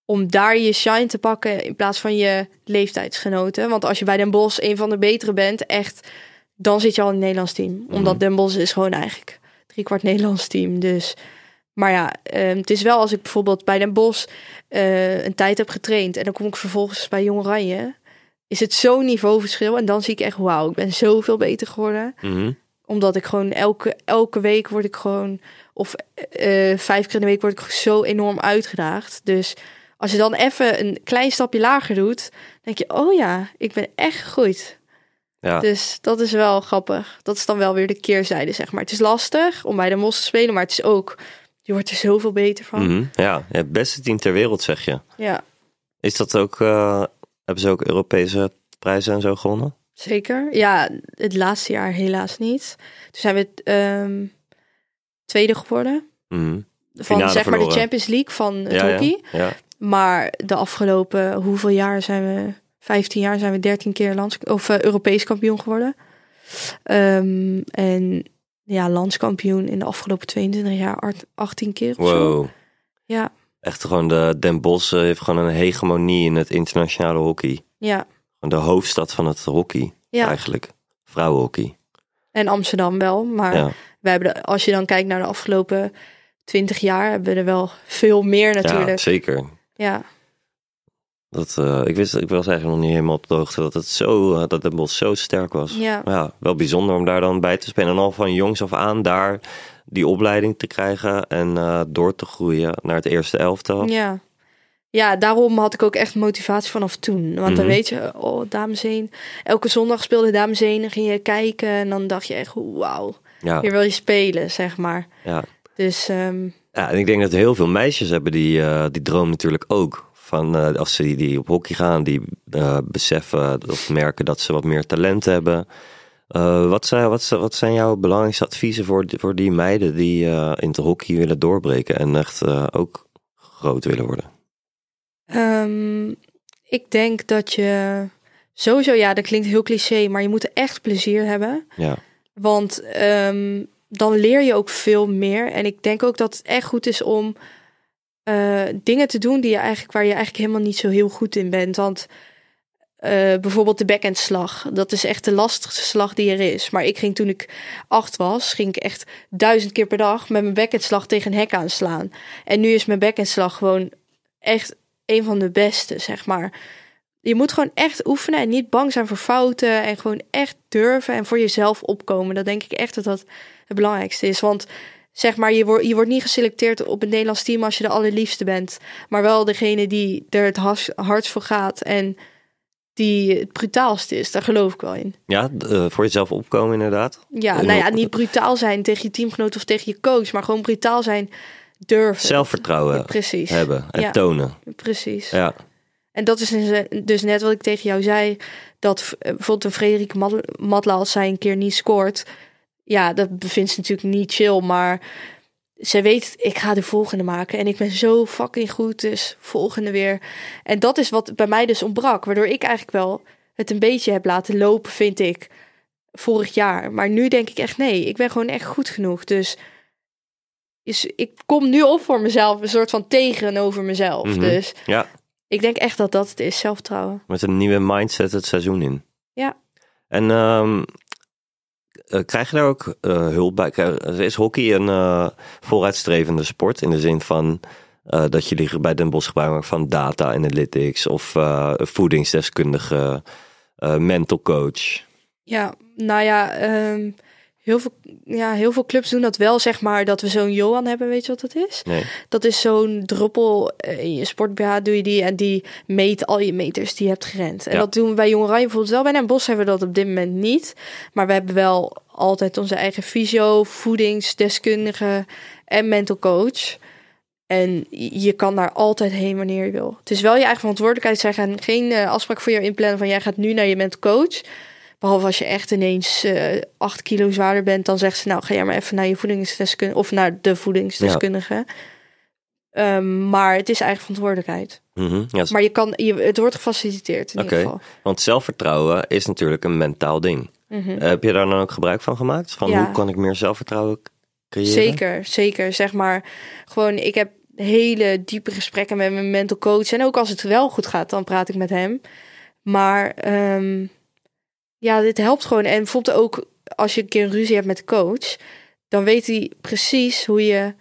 om daar je shine te pakken in plaats van je leeftijdsgenoten. Want als je bij Den Bosch een van de betere bent, echt, dan zit je al in het Nederlands team. Omdat Den Bosch is gewoon eigenlijk driekwart Nederlands team. Dus, maar ja, ehm, het is wel als ik bijvoorbeeld bij Den Bosch eh, een tijd heb getraind en dan kom ik vervolgens bij Jong Oranje, is het zo'n niveauverschil. En dan zie ik echt, wauw, ik ben zoveel beter geworden
Mhm.
omdat ik gewoon elke, elke week word ik gewoon, of eh, vijf keer in de week word ik zo enorm uitgedaagd. Dus als je dan even een klein stapje lager doet, denk je, oh ja, ik ben echt gegroeid.
Ja.
Dus dat is wel grappig. Dat is dan wel weer de keerzijde, zeg maar. Het is lastig om bij de mos te spelen, maar het is ook, je wordt er zoveel beter van.
Mhm. ja, het beste team ter wereld zeg je.
Ja,
Is dat ook, eh, hebben ze ook Europese prijzen en zo gewonnen?
zeker. Ja, het laatste jaar helaas niet. Toen zijn we ehm, tweede geworden.
Mhm.
Van
Finale
zeg maar de
verloren.
Champions League van het
Ja,
hockey.
ja, ja.
Maar de afgelopen hoeveel jaar zijn we? 15 jaar zijn we 13 keer lands, of, eh, Europees kampioen geworden. Ehm, en ja, landskampioen in de afgelopen 22 jaar art- 18 keer of zo.
Wow.
Ja,
Echt gewoon de Den Bosch eh, heeft gewoon een hegemonie in het internationale hockey.
ja,
Gewoon de hoofdstad van het hockey
ja.
eigenlijk. Vrouwenhockey.
En Amsterdam wel. Maar
Ja.
we hebben de- als je dan kijkt naar de afgelopen 20 jaar, hebben we er wel veel meer
ja,
natuurlijk.
zeker.
Ja,
Dat, eh, ik, wist, ik was eigenlijk nog niet helemaal op de hoogte dat, het zo, eh, dat Den Bosch zo sterk was.
Ja.
Maar ja, wel bijzonder om daar dan bij te spelen. En al van jongs af aan daar die opleiding te krijgen en eh, door te groeien naar het eerste elftal.
Ja. Ja, daarom had ik ook echt motivatie vanaf toen. Want dan
Mhm.
weet je, oh, dames heen. Elke zondag speelde dames heen en ging je kijken. En dan dacht je echt, wauw,
Ja,
hier wil je spelen, zeg maar.
ja.
Dus ehm,
ja, en ik denk dat heel veel meisjes hebben die, eh, die droom natuurlijk ook. Van eh, als ze die, die op hockey gaan, die eh, beseffen of merken dat ze wat meer talent hebben. Eh, wat, zijn, wat, zijn- wat zijn jouw belangrijkste adviezen voor, die- voor die meiden die eh, in het hockey willen doorbreken en echt eh, ook groot willen worden?
Ehm, ik denk dat je sowieso, ja, dat klinkt heel cliché, maar je moet er echt plezier hebben.
Ja.
Want ehm, dan leer je ook veel meer. En ik denk ook dat het echt goed is om eh, dingen te doen die je eigenlijk, waar je eigenlijk helemaal niet zo heel goed in bent. Want eh, bijvoorbeeld de backhandslag. Dat is echt de lastigste slag die er is. Maar ik ging toen ik acht was, ging ik echt duizend keer per dag met mijn backhandslag tegen een hek aanslaan. En nu is mijn backhandslag gewoon echt een van de beste, zeg maar. Je moet gewoon echt oefenen en niet bang zijn voor fouten. En gewoon echt durven en voor jezelf opkomen. Dat denk ik echt dat dat het belangrijkste is. Want zeg maar, je, wordt je wordt niet geselecteerd op het Nederlands team als je de allerliefste bent. Maar wel degene die er het has- hardst voor gaat en die het brutaalst is. Daar geloof ik wel in.
Ja, d- eh, voor jezelf opkomen inderdaad.
Ja,
En
nou ja,
hoe-
niet brutaal zijn tegen je teamgenoot of tegen je coach. Maar gewoon brutaal zijn durven.
Zelfvertrouwen
Precies.
hebben en
Ja.
tonen.
Precies.
Ja,
En dat is dus- dus net wat ik tegen jou zei. Dat eh, bijvoorbeeld een Frederik Mad- Matla als zij een keer niet scoort. Ja, dat vindt ze natuurlijk niet chill. Maar zij weet, ik ga de volgende maken. En ik ben zo fucking goed, dus volgende weer. En dat is wat bij mij dus ontbrak. Waardoor ik eigenlijk wel het een beetje heb laten lopen, vind ik. Vorig jaar. Maar nu denk ik echt, nee, ik ben gewoon echt goed genoeg. Dus is, ik kom nu op voor mezelf. Een soort van tegenover mezelf.
Mhm.
Dus...
ja,
Ik denk echt dat dat het is, zelfvertrouwen.
met een nieuwe mindset het seizoen in.
Ja.
En ehm, eh, krijg je daar ook eh, hulp bij? Krijg- Is hockey een eh, vooruitstrevende sport in de zin van eh, dat jullie bij Den Bosch gebruik maken van data analytics of eh, voedingsdeskundige, eh, mental coach?
Ja, nou ja, ehm, heel, veel, ja, heel veel clubs doen dat wel, zeg maar, dat we zo'n Johan hebben, weet je wat dat is?
Nee.
Dat is zo'n druppel eh, in je sport-BH doe je die en die meet al je meters die je hebt gerend. En
Ja.
dat doen we bij Jong Oranje bijvoorbeeld wel. Bij Den Bosch hebben we dat op dit moment niet. Maar we hebben wel altijd onze eigen fysio, voedingsdeskundige en mental coach. En je kan daar altijd heen wanneer je wil. Het is wel je eigen verantwoordelijkheid. Zij gaan geen eh, afspraak voor je inplannen van jij gaat nu naar je mental coach. Behalve als je echt ineens eh, acht kilo zwaarder bent, dan zegt ze nou ga jij maar even naar je voedingsdeskundige of naar de voedingsdeskundige. Ehm, maar het is eigen verantwoordelijkheid.
Mhm, ja,
Maar je kan, je, het wordt gefaciliteerd in
Oké.
ieder geval.
Want zelfvertrouwen is natuurlijk een mentaal ding. Heb je daar dan ook gebruik van gemaakt? Van
Mhm. Ja.
hoe kan ik meer zelfvertrouwen k- creëren?
Zeker, zeker. Zeg maar, gewoon, ik heb hele diepe gesprekken met mijn mental coach. En ook als het wel goed gaat, dan praat ik met hem. Maar ehm, ja, dit helpt gewoon. En bijvoorbeeld ook als je een keer een ruzie hebt met de coach, dan weet hij precies hoe je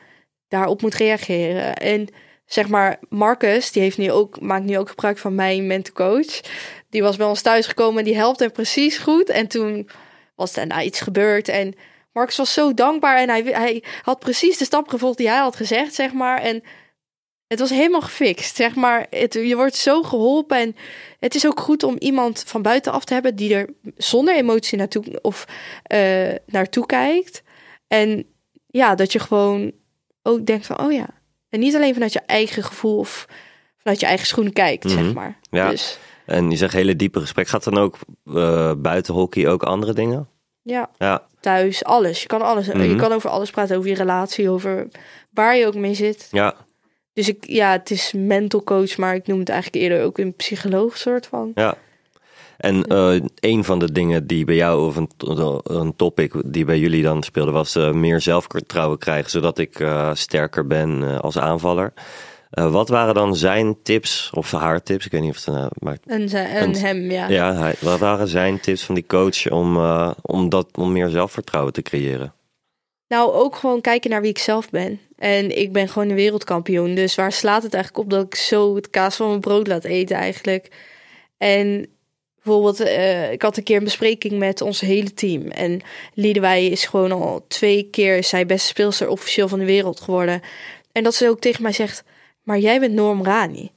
daarop moet reageren. En zeg maar, Marcus, die heeft nu ook, maakt nu ook gebruik van mijn mental coach. Die was bij ons thuis gekomen en die helpt hem precies goed. En toen was daarna iets gebeurd en Marcus was zo dankbaar en hij, hij had precies de stap gevolgd die hij had gezegd, zeg maar. En het was helemaal gefixt, zeg maar. Het, je wordt zo geholpen en het is ook goed om iemand van buitenaf te hebben die er zonder emotie naartoe, of, eh, naartoe kijkt. En ja, dat je gewoon ook denkt van, oh ja. En niet alleen vanuit je eigen gevoel of vanuit je eigen schoen kijkt,
Mhm.
zeg maar.
Ja.
Dus
En je zegt hele diepe gesprek. Gaat dan ook eh, buiten hockey ook andere dingen?
ja,
Ja,
thuis, alles. Je kan alles. Je
Mhm.
kan over alles praten, over je relatie, over waar je ook mee zit.
ja,
Dus ik, ja, het is mental coach, maar ik noem het eigenlijk eerder ook een psycholoog soort van.
ja. En eh een van de dingen die bij jou, of een, to- een topic die bij jullie dan speelde, was eh, meer zelfvertrouwen krijgen, zodat ik eh, sterker ben eh, als aanvaller. Eh, wat waren dan zijn tips, of haar tips, ik weet niet of het, eh, maar
En, ze, en,
En-
hem, ja.
ja, hij- wat waren zijn tips van die coach om, eh, om, dat, om meer zelfvertrouwen te creëren?
Nou, ook gewoon kijken naar wie ik zelf ben. En ik ben gewoon een wereldkampioen. Dus waar slaat het eigenlijk op dat ik zo het kaas van mijn brood laat eten eigenlijk? En bijvoorbeeld, eh, ik had een keer een bespreking met ons hele team. En Liedewij is gewoon al twee keer is zij beste speelster officieel van de wereld geworden. En dat ze ook tegen mij zegt, maar jij bent Norm Rani.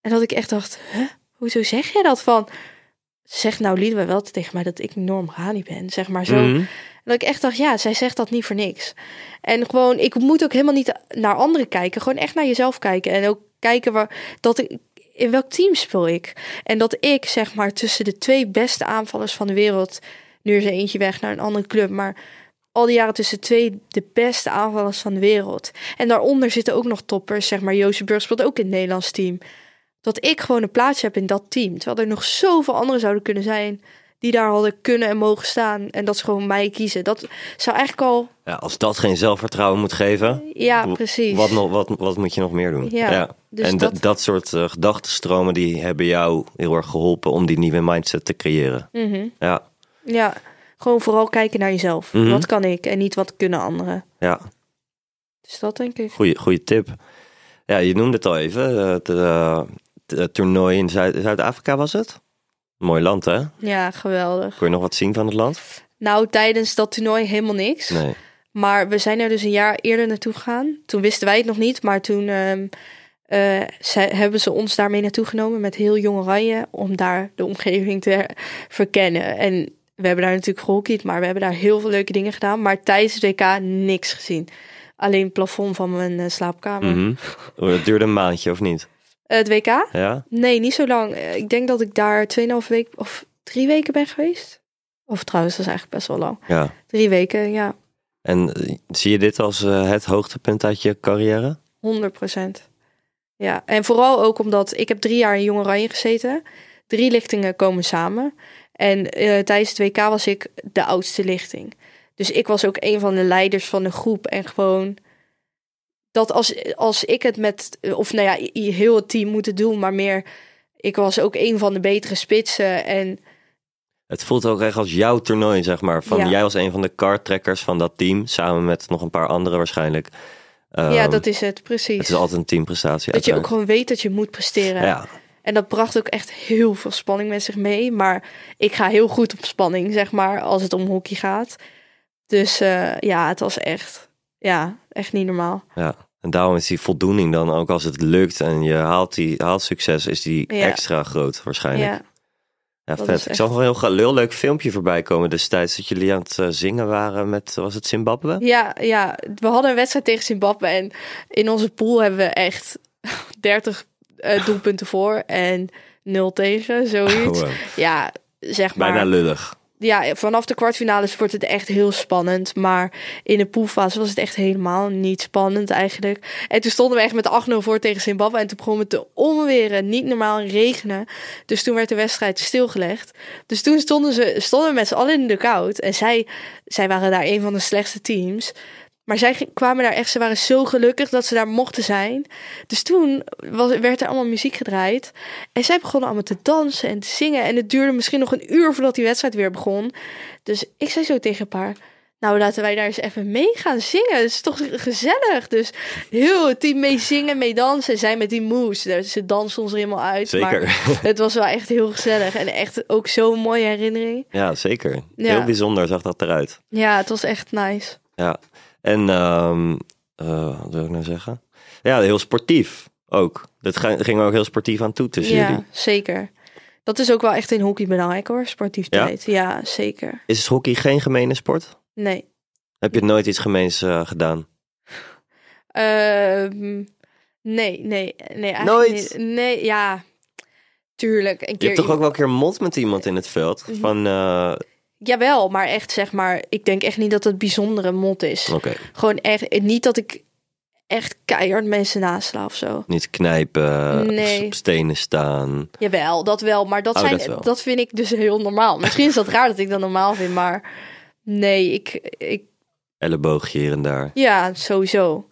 En dat ik echt dacht, huh? hoezo zeg jij dat van? Zeg nou Liedewij wel tegen mij dat ik Norm Rani ben, zeg maar zo.
Mhm.
Dat ik echt dacht, ja, zij zegt dat niet voor niks. En gewoon, ik moet ook helemaal niet naar anderen kijken. Gewoon echt naar jezelf kijken. En ook kijken waar, dat ik, in welk team speel ik. En dat ik, zeg maar, tussen de twee beste aanvallers van de wereld... Nu is er eentje weg naar een andere club, maar... Al die jaren tussen twee de beste aanvallers van de wereld. En daaronder zitten ook nog toppers. Zeg maar, Jozef Burg speelt ook in het Nederlands team. Dat ik gewoon een plaatsje heb in dat team. Terwijl er nog zoveel anderen zouden kunnen zijn die daar hadden kunnen en mogen staan. En dat ze gewoon mij kiezen. Dat zou eigenlijk al.
Ja, als dat geen zelfvertrouwen moet geven,
Ja,
Wa-
precies.
Wat, nog, wat, wat moet je nog meer doen?
Ja, dus
en dat,
dat-
dat soort eh, gedachtenstromen die hebben jou heel erg geholpen om die nieuwe mindset te creëren.
Mhm.
Ja,
Ja, gewoon vooral kijken naar jezelf.
Mhm.
Wat kan ik en niet wat kunnen anderen.
ja.
Dus dat denk ik.
Goeie, goeie tip. Ja, je noemde het al even. eh, Het, eh, het, eh, toernooi in Zuid- Zuid-Afrika was het? Mooi land, hè?
Ja, geweldig.
Kun je nog wat zien van het land?
Nou, tijdens dat toernooi helemaal niks.
Nee.
Maar we zijn er dus een jaar eerder naartoe gegaan. Toen wisten wij het nog niet, maar toen ehm, eh, ze- hebben ze ons daarmee naartoe genomen met heel jong oranje om daar de omgeving te her- verkennen. En we hebben daar natuurlijk gehockeyd, maar we hebben daar heel veel leuke dingen gedaan. Maar tijdens het WK niks gezien. Alleen het plafond van mijn eh, slaapkamer. Eh,
Mhm. Oh, Het duurde een maandje, of niet?
het WK?
Ja?
Nee, niet zo lang. Eh, Ik denk dat ik daar 2,5 week of drie weken ben geweest. Of trouwens, dat is eigenlijk best wel lang.
Ja.
Drie weken, ja,
En eh, zie je dit als eh, het hoogtepunt uit je carrière?
100 procent. Ja, en vooral ook omdat ik heb drie jaar in Jong Oranje gezeten. Drie lichtingen komen samen. En eh, tijdens het WK was ik de oudste lichting. Dus ik was ook een van de leiders van de groep. En gewoon dat als, als ik het met, of nou ja, i- heel het team moeten doen, maar meer, ik was ook een van de betere spitsen. En
Het voelt ook echt als jouw toernooi, zeg maar. Van,
Ja.
Jij was een van de cardtrekkers van dat team, samen met nog een paar anderen waarschijnlijk.
ja,
Ehm,
dat is het, precies.
Het is altijd een teamprestatie.
dat je ook
uiteraard.
gewoon weet dat je moet presteren.
Ja,
En dat bracht ook echt heel veel spanning met zich mee. Maar ik ga heel goed op spanning, zeg maar, als het om hockey gaat. Dus eh, ja, het was echt, ja, echt niet normaal.
ja. En daarom is die voldoening dan ook als het lukt en je haalt, die, haalt succes, is die
Ja.
extra groot waarschijnlijk. Ja,
Ja, dat
vet.
is
Ik
echt-
zag nog een heel, ga- heel leuk filmpje voorbij komen destijds dat jullie aan het eh, zingen waren met, was het Zimbabwe?
ja, ja, we hadden een wedstrijd tegen Zimbabwe. En in onze pool hebben we echt 30 eh, doelpunten voor en 0 tegen, zoiets.
Gewoon.
Ja, zeg maar.
Bijna lullig.
ja, vanaf de kwartfinales wordt het echt heel spannend. Maar in de poolfase was het echt helemaal niet spannend eigenlijk. En toen stonden we echt met 8-0 voor tegen Zimbabwe. En toen begon het te onweren, niet normaal regenen. Dus toen werd de wedstrijd stilgelegd. Dus toen stonden, ze, stonden we met z'n allen in de koud. En zij, zij waren daar een van de slechtste teams. Maar zij ging- kwamen daar echt, ze waren zo gelukkig dat ze daar mochten zijn. Dus toen was, werd er allemaal muziek gedraaid. En zij begonnen allemaal te dansen en te zingen. En het duurde misschien nog een uur voordat die wedstrijd weer begon. Dus ik zei zo tegen een paar. Nou, laten wij daar eens even mee gaan zingen. Het is toch gezellig. Dus heel het team mee zingen, mee dansen. En zij met die moes. Dus Ze dansen ons er helemaal uit.
Zeker.
Maar het was wel echt heel gezellig. En echt ook zo'n mooie herinnering.
Ja, zeker.
Ja.
Heel bijzonder zag dat eruit.
Ja, het was echt nice.
Ja. En ehm, eh, wat wil ik nou zeggen? Ja, heel sportief ook. Dat ga- ging er ook heel sportief aan toe tussen
ja,
jullie.
zeker. Dat is ook wel echt in hockey belangrijk hoor, sportief
Ja?
tijd. Ja, zeker.
Is hockey geen gemene sport?
Nee.
Heb je nooit iets gemeens eh, gedaan?
Ehm, nee, nee, nee. eigenlijk
Nooit?
niet. Nee, ja. Tuurlijk. Mhm. Een keer
Je hebt toch ook
iemand-
wel een keer mot met iemand in het veld? Van, eh,
Jawel, maar echt zeg maar, ik denk echt niet dat het bijzondere mot is.
oké,
Gewoon echt, niet dat ik echt keihard mensen nasla of zo.
niet knijpen, of
Nee.
op stenen staan.
Jawel, dat wel, maar dat,
Oh,
zijn,
dat wel.
dat, vind ik dus heel normaal. Misschien is dat raar dat ik dat normaal vind, maar nee, ik, ik
Elleboogje hier en daar.
ja, sowieso.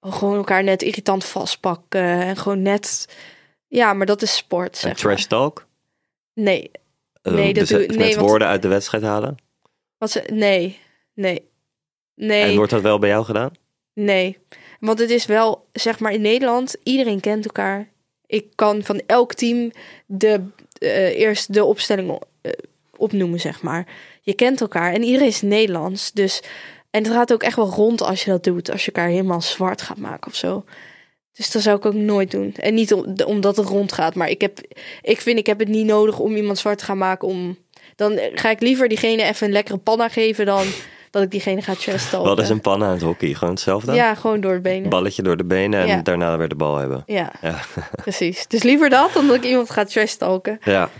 Gewoon elkaar net irritant vastpakken en gewoon net, ja, maar dat is sport,
En
zeg
trash talk?
maar. Nee,
Eh,
Nee, dat
bezet-
doe ik- nee,
Met
want-
woorden uit de wedstrijd halen?
wat ze, nee, nee, nee.
En wordt dat wel bij jou gedaan?
Nee, want het is wel, zeg maar, in Nederland, iedereen kent elkaar. Ik kan van elk team de, eh, eerst de opstelling o- eh, opnoemen, zeg maar. Je kent elkaar en iedereen is Nederlands. Dus, en het gaat ook echt wel rond als je dat doet. Als je elkaar helemaal zwart gaat maken of zo. Dus dat zou ik ook nooit doen. En niet om- de- omdat het rond gaat, maar ik, heb, ik vind ik heb het niet nodig om iemand zwart te gaan maken. Om, dan eh, ga ik liever diegene even een lekkere panna geven dan dat ik diegene ga trash
Wel, dat is een pan aan het hockey. Gewoon hetzelfde?
eh, ja, gewoon door de benen.
Balletje door de benen en
Ja.
daarna weer de bal hebben.
Ja,
Ja.
precies. Dus liever dat dan dat ik iemand ga trash talken.
Ja,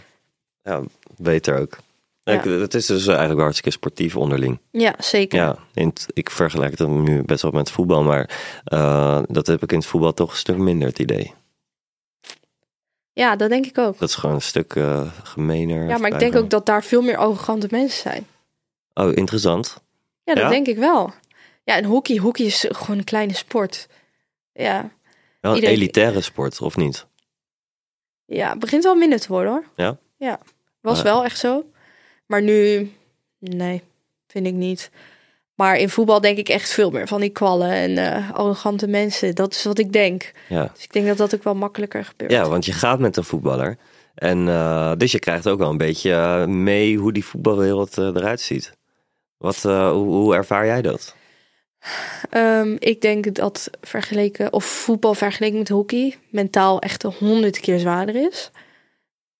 ja beter ook.
Ja.
Ik- het is dus eigenlijk hartstikke sportief onderling.
Ja, zeker.
Ja, in het- ik vergelijk het nu best wel met voetbal, maar eh, dat heb ik in het voetbal toch een stuk minder het idee.
Ja, dat denk ik ook.
Dat is gewoon een stuk eh gemener.
Ja, maar ik denk ook dat daar veel meer arrogante mensen zijn.
Oh, interessant.
Ja, dat
Ja?
denk ik wel. Ja, en hockey, hockey is gewoon een kleine sport. Ja,
Wel een
Iedereen-
Oh, elitaire sport, of niet?
ja het begint wel minder te worden hoor.
Ja?
Ja, was
Maar-
wel echt zo. Maar nu, nee, vind ik niet. Maar in voetbal denk ik echt veel meer van die kwallen en eh, arrogante mensen. Dat is wat ik denk.
Ja.
Dus ik denk dat dat ook wel makkelijker gebeurt.
ja, want je gaat met een voetballer. En eh, dus je krijgt ook wel een beetje eh, mee hoe die voetbalwereld eh, eruit ziet. Wat, eh, hoe, hoe ervaar jij dat?
Ehm, ik denk dat vergeleken, of voetbal vergeleken met hockey, mentaal echt een honderd keer zwaarder is.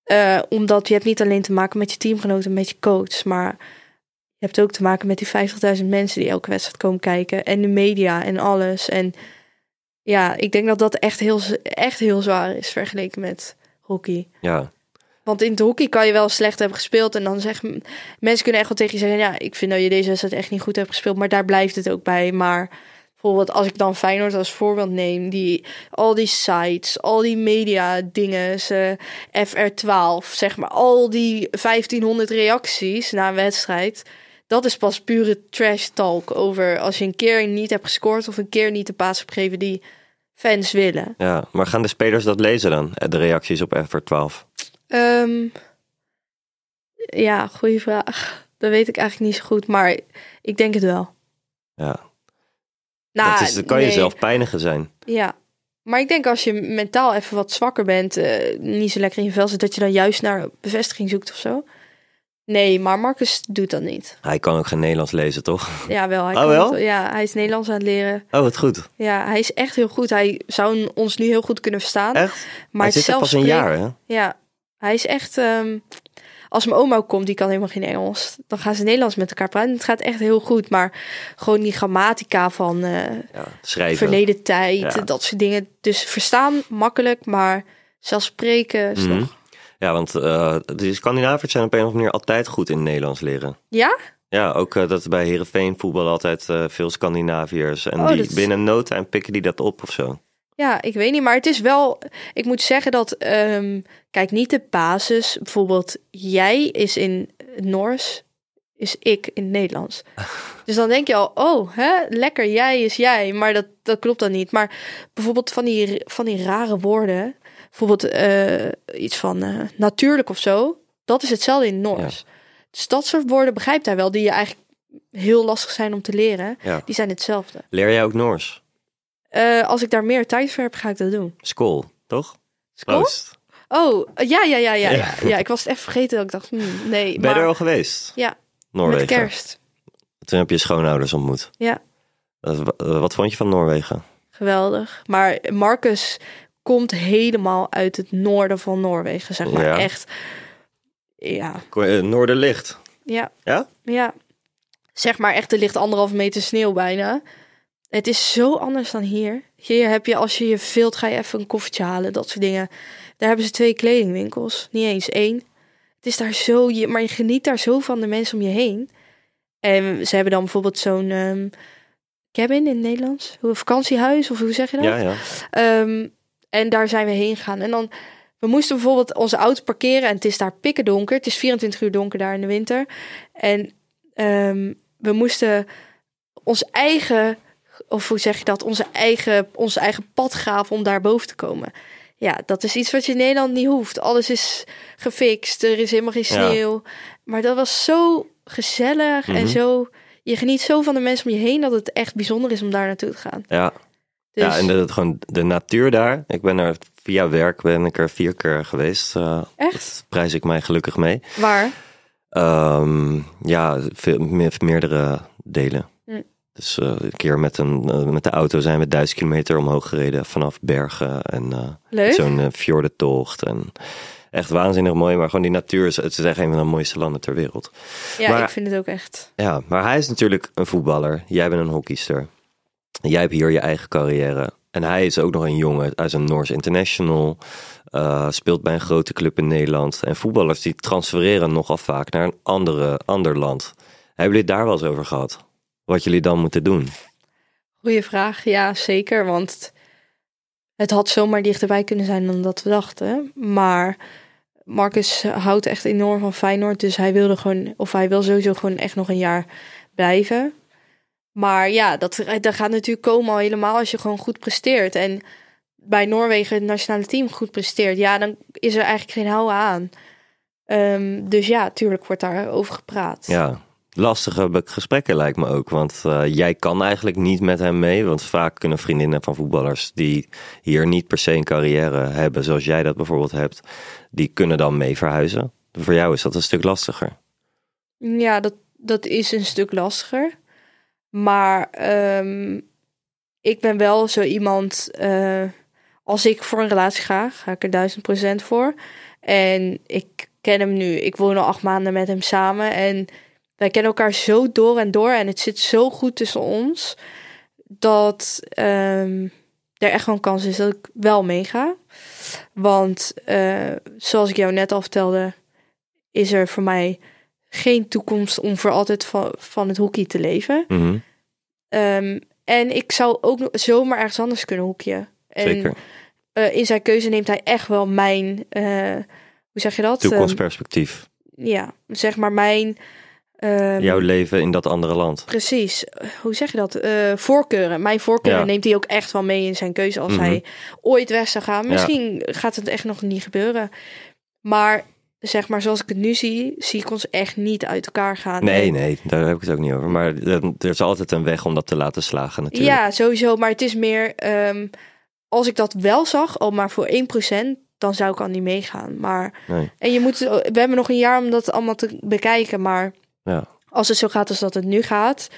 Eh, omdat je hebt niet alleen te maken met je teamgenoten, met je coach, maar je hebt ook te maken met die 50.000 mensen die elke wedstrijd komen kijken. En de media en alles. En ja, ik denk dat dat echt heel, z- echt heel zwaar is vergeleken met hockey.
Ja,
Want in het hockey kan je wel slecht hebben gespeeld. En dan zeggen mensen kunnen echt wel tegen je zeggen: Ja, ik vind dat je deze wedstrijd echt niet goed hebt gespeeld. Maar daar blijft het ook bij. Maar bijvoorbeeld, als ik dan Feyenoord als voorbeeld neem, die, al die sites, al die media dingen, FR12, zeg maar, al die 1500 reacties na een wedstrijd. Dat is pas pure trash talk over als je een keer niet hebt gescoord of een keer niet de paas hebt gegeven die fans willen.
Ja, maar gaan de spelers dat lezen dan? Eh, De reacties op Effort 12?
Ehm, ja, goede vraag. Dat weet ik eigenlijk niet zo goed, maar ik denk het wel.
Ja,
Nou,
dat, is, dat kan je
nee,
zelf pijnigen zijn.
Ja, maar ik denk als je mentaal even wat zwakker bent, eh, niet zo lekker in je vel zit, dat je dan juist naar bevestiging zoekt of zo. Nee, maar Marcus doet dat niet.
Hij kan ook geen Nederlands lezen, toch?
Ja, wel. Hij
Oh,
kan
wel?
het- Ja, hij is Nederlands aan het leren.
Oh, wat goed.
Ja, hij is echt heel goed. Hij zou ons nu heel goed kunnen verstaan.
Echt?
Maar
hij
het
zit er
zelf
pas een
spreken-
jaar, hè?
Ja, hij is echt. ehm, als mijn oma ook komt, die kan helemaal geen Engels. Dan gaan ze Nederlands met elkaar praten. Het gaat echt heel goed. Maar gewoon die grammatica van eh,
Ja, schrijven.
verleden tijd,
Ja.
dat soort dingen. Dus verstaan makkelijk, maar zelfs spreken. Is
Mhm.
nog...
Ja, want eh, de Scandinaviërs zijn op een of andere manier altijd goed in Nederlands leren.
Ja?
Ja, ook eh, dat bij Herenveen voetbal altijd eh, veel Scandinaviërs. En
Oh,
die
dat is-
binnen no time pikken die dat op of zo.
Ja, ik weet niet. Maar het is wel. Ik moet zeggen dat. ehm, kijk, niet de basis. Bijvoorbeeld, jij is in het Noors. is ik in het Nederlands. Dus dan denk je al, oh, hè, lekker, jij is jij. Maar dat, dat klopt dan niet. Maar bijvoorbeeld van die, van die rare woorden, bijvoorbeeld eh, iets van eh, natuurlijk of zo, dat is hetzelfde in het Noors. Dus dat soort woorden begrijpt hij wel, die je eigenlijk heel lastig zijn om te leren.
Ja.
Die zijn hetzelfde.
Leer jij ook Noors?
Eh, als ik daar meer tijd voor heb, ga ik dat doen.
School, toch?
School?
Proost.
Oh, ja, ja, ja, ja,
Ja.
ja. Ja, ik was het even vergeten dat ik dacht, hmm, nee.
Ben je
maar
er al geweest?
Ja, met
Noorwegen.
kerst.
Toen heb je je schoonouders ontmoet.
Ja.
Eh, wa- eh, wat vond je van Noorwegen?
Geweldig. Maar Marcus komt helemaal uit het noorden van Noorwegen, zeg maar.
Ja.
Echt. Ja,
Kon je- eh, Noorderlicht.
ja.
Ja?
Ja. Zeg maar echt, er ligt anderhalf meter sneeuw bijna. Het is zo anders dan hier. Hier heb je, als je je veelt, ga je even een koffietje halen, dat soort dingen. Daar hebben ze twee kledingwinkels, niet eens één. Het is daar zo, je, maar je geniet daar zo van de mensen om je heen. En ze hebben dan bijvoorbeeld zo'n ehm, cabin in het Nederlands, Hoe- vakantiehuis of hoe zeg je dat?
Ja, ja.
Ehm, en daar zijn we heen gegaan. En dan, we moesten bijvoorbeeld onze auto parkeren en het is daar pikken donker. Het is 24 uur donker daar in de winter. En ehm, we moesten ons eigen, of hoe zeg je dat, onze eigen, ons eigen pad graven om daar boven te komen. Ja, dat is iets wat je in Nederland niet hoeft. Alles is gefixt, er is helemaal geen
Ja.
sneeuw. Maar dat was zo gezellig
Mhm.
en zo... Je geniet zo van de mensen om je heen dat het echt bijzonder is om daar naartoe te gaan.
ja.
Dus,
Ja, en de, gewoon de natuur daar. Ik ben er via werk ben ik er vier keer geweest. eh,
echt?
dat prijs ik mij gelukkig mee.
Waar?
Ehm, ja, veel, me- meerdere delen.
Hm.
Dus eh, een keer met, een, eh, met de auto zijn we duizend kilometer omhoog gereden vanaf bergen en eh,
Leuk.
zo'n uh, fjordentocht. En echt waanzinnig mooi, maar gewoon die natuur is, het is echt een van de mooiste landen ter wereld.
Ja,
Maar-
ik vind het ook echt.
Ja, maar hij is natuurlijk een voetballer. Jij bent een hockeyster. Jij hebt hier je eigen carrière. En hij is ook nog een jongen uit een Noors International. eh, speelt bij een grote club in Nederland. En voetballers die transfereren nogal vaak naar een andere, ander land. Hebben jullie het daar wel eens over gehad? Wat jullie dan moeten doen?
Goeie vraag. Ja, zeker. Want het had zomaar dichterbij kunnen zijn dan dat we dachten. Maar Marcus eh, houdt echt enorm van Feyenoord. Dus hij wilde gewoon, of hij wil sowieso gewoon echt nog een jaar blijven. Maar ja, dat, dat gaat natuurlijk komen al helemaal als je gewoon goed presteert. En bij Noorwegen het nationale team goed presteert. Ja, dan is er eigenlijk geen houden aan. Ehm, dus ja, tuurlijk wordt daar over gepraat.
Ja, lastige be- gesprekken lijkt me ook. Want eh, jij kan eigenlijk niet met hem mee. Want vaak kunnen vriendinnen van voetballers die hier niet per se een carrière hebben, zoals jij dat bijvoorbeeld hebt, die kunnen dan mee verhuizen. Voor jou is dat een stuk lastiger.
Ja, dat, dat is een stuk lastiger. Maar ehm, ik ben wel zo iemand. eh, als ik voor een relatie ga, ga ik er duizend procent voor. En ik ken hem nu. Ik woon al acht maanden met hem samen. En wij kennen elkaar zo door en door. En het zit zo goed tussen ons. Dat ehm, er echt gewoon kans is dat ik wel meega. Want eh, zoals ik jou net al vertelde, is er voor mij geen toekomst om voor altijd van, van het hockey te leven.
Mhm,
Ehm, en ik zou ook nog zomaar ergens anders kunnen hoekje. En
Zeker.
eh, in zijn keuze neemt hij echt wel mijn, eh, hoe zeg je dat?
Toekomstperspectief.
Ehm, ja, zeg maar mijn. ehm,
Jouw leven in dat andere land.
Precies. Hoe zeg je dat? Eh, voorkeuren. Mijn voorkeuren
Ja.
neemt hij ook echt wel mee in zijn keuze als
Mhm.
hij ooit weg zou gaan.
Ja.
Misschien gaat het echt nog niet gebeuren. Maar zeg maar, zoals ik het nu zie, zie ik ons echt niet uit elkaar gaan.
Nee,
En-
nee, daar heb ik het ook niet over. Maar eh, er is altijd een weg om dat te laten slagen natuurlijk.
Ja, sowieso. Maar het is meer, ehm, als ik dat wel zag, al maar voor 1%, dan zou ik al niet meegaan. Maar,
Nee.
en je moet, we hebben nog een jaar om dat allemaal te bekijken. Maar
Ja.
als het zo gaat als dat het nu gaat,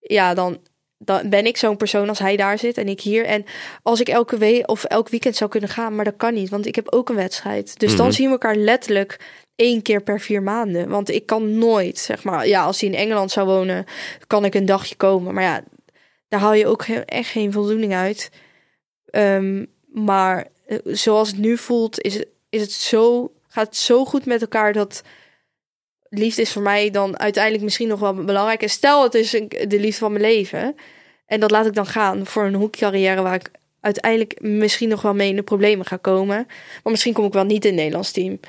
ja, dan, dan ben ik zo'n persoon als hij daar zit en ik hier. En als ik elke week of elk weekend zou kunnen gaan, maar dat kan niet, want ik heb ook een wedstrijd. Dus
Mhm.
dan zien we elkaar letterlijk één keer per vier maanden. Want ik kan nooit, zeg maar, ja, als hij in Engeland zou wonen, kan ik een dagje komen. Maar ja, daar haal je ook ge- echt geen voldoening uit. Ehm, maar eh, zoals het nu voelt, is het, is het zo, gaat het zo goed met elkaar dat liefde is voor mij dan uiteindelijk misschien nog wel belangrijk. En stel, het is een- de liefde van mijn leven. En dat laat ik dan gaan voor een hoekcarrière waar ik uiteindelijk misschien nog wel mee in de problemen ga komen. Maar misschien kom ik wel niet in het Nederlands team.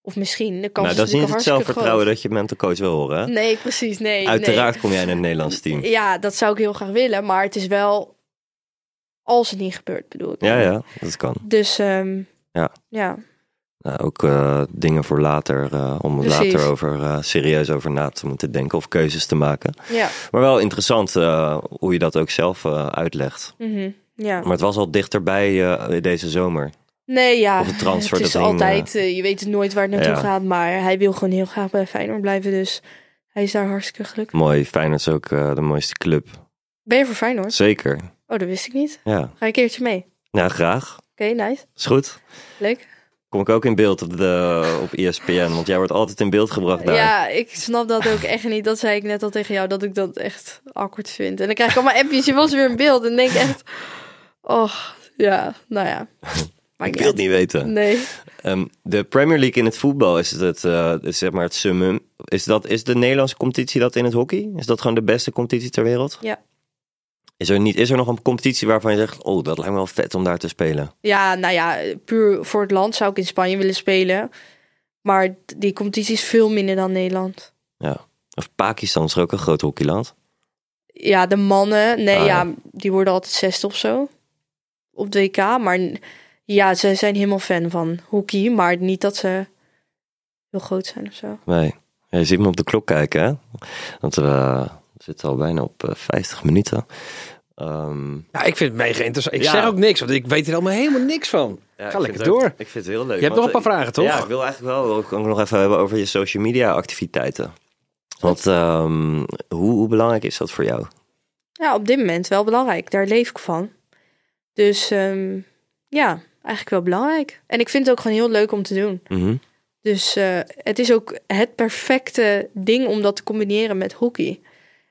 Of misschien, de kans
Nou, dat is niet het
natuurlijk hartstikke
zelfvertrouwen
groot.
dat je mental coach wil horen. hè?
Nee, precies. Nee,
Uiteraard kom jij in het Nederlands team.
Nee. Ja, dat zou ik heel graag willen. Maar het is wel als het niet gebeurt, bedoel ik.
Ja, ja, dat kan.
Dus ehm,
Ja.
ja.
Nou, ook eh, dingen voor later, eh, om er
Precies.
later over, eh, serieus over na te moeten denken of keuzes te maken.
Ja.
Maar wel interessant eh, hoe je dat ook zelf eh, uitlegt.
mhm, ja.
Maar het was al dichterbij eh, deze zomer.
Nee, ja.
Of een transfer,
Het is
dat hing,
altijd, eh, je weet het nooit waar het naartoe
ja.
gaat. Maar hij wil gewoon heel graag bij Feyenoord blijven. Dus hij is daar hartstikke gelukkig.
Mooi, Feyenoord is ook eh, de mooiste club.
Ben je voor Feyenoord?
Zeker,
Oh, dat wist ik niet.
ja.
Ga je een keertje mee? Oké,
Nou, graag.
nice.
Is goed.
Leuk.
Kom ik ook in beeld op, de, op E ESPN, want jij wordt altijd in beeld gebracht daar.
Ja, ik snap dat ook echt niet. Dat zei ik net al tegen jou, dat ik dat echt awkward vind. En dan krijg ik allemaal appjes, je was weer in beeld. En denk ik echt, oh, ja, nou ja. Maakt
ik wil het
uit.
niet weten.
Nee.
Ehm, de Premier League in het voetbal is het, eh, is zeg maar het summum. Is, dat, is de Nederlandse competitie dat in het hockey? Is dat gewoon de beste competitie ter wereld?
Ja.
Is er, niet, is er nog een competitie waarvan je zegt, oh, dat lijkt me wel vet om daar te spelen?
Ja, nou ja, puur voor het land zou ik in Spanje willen spelen. Maar die competitie is veel minder dan Nederland.
Ja. Of Pakistan is er ook een groot hockeyland.
Ja, de mannen, nee,
Ah, ja.
ja, die worden altijd zesde of zo. Op de WK. Maar n- ja, ze zijn helemaal fan van hockey. Maar niet dat ze heel groot zijn of zo.
Nee. Ja, je ziet me op de klok kijken, hè? Want we eh, zitten al bijna op eh, 50 minuten. Ehm,
Ja, ik vind het mega interessant. Ik
Ja.
zeg ook niks, want ik weet er allemaal helemaal niks van.
ja, ik
Ga
vind
lekker
het ook-
door.
Ik vind het heel leuk.
Je hebt nog
want,
een paar
eh,
vragen, toch?
Ja, ik wil eigenlijk wel ook ook nog even hebben over je social media activiteiten. Want ehm, hoe, hoe belangrijk is dat voor jou?
Ja, op dit moment wel belangrijk. Daar leef ik van. Dus ehm, ja, eigenlijk wel belangrijk. En ik vind het ook gewoon heel leuk om te doen.
Mhm.
Dus eh, het is ook het perfecte ding om dat te combineren met hockey.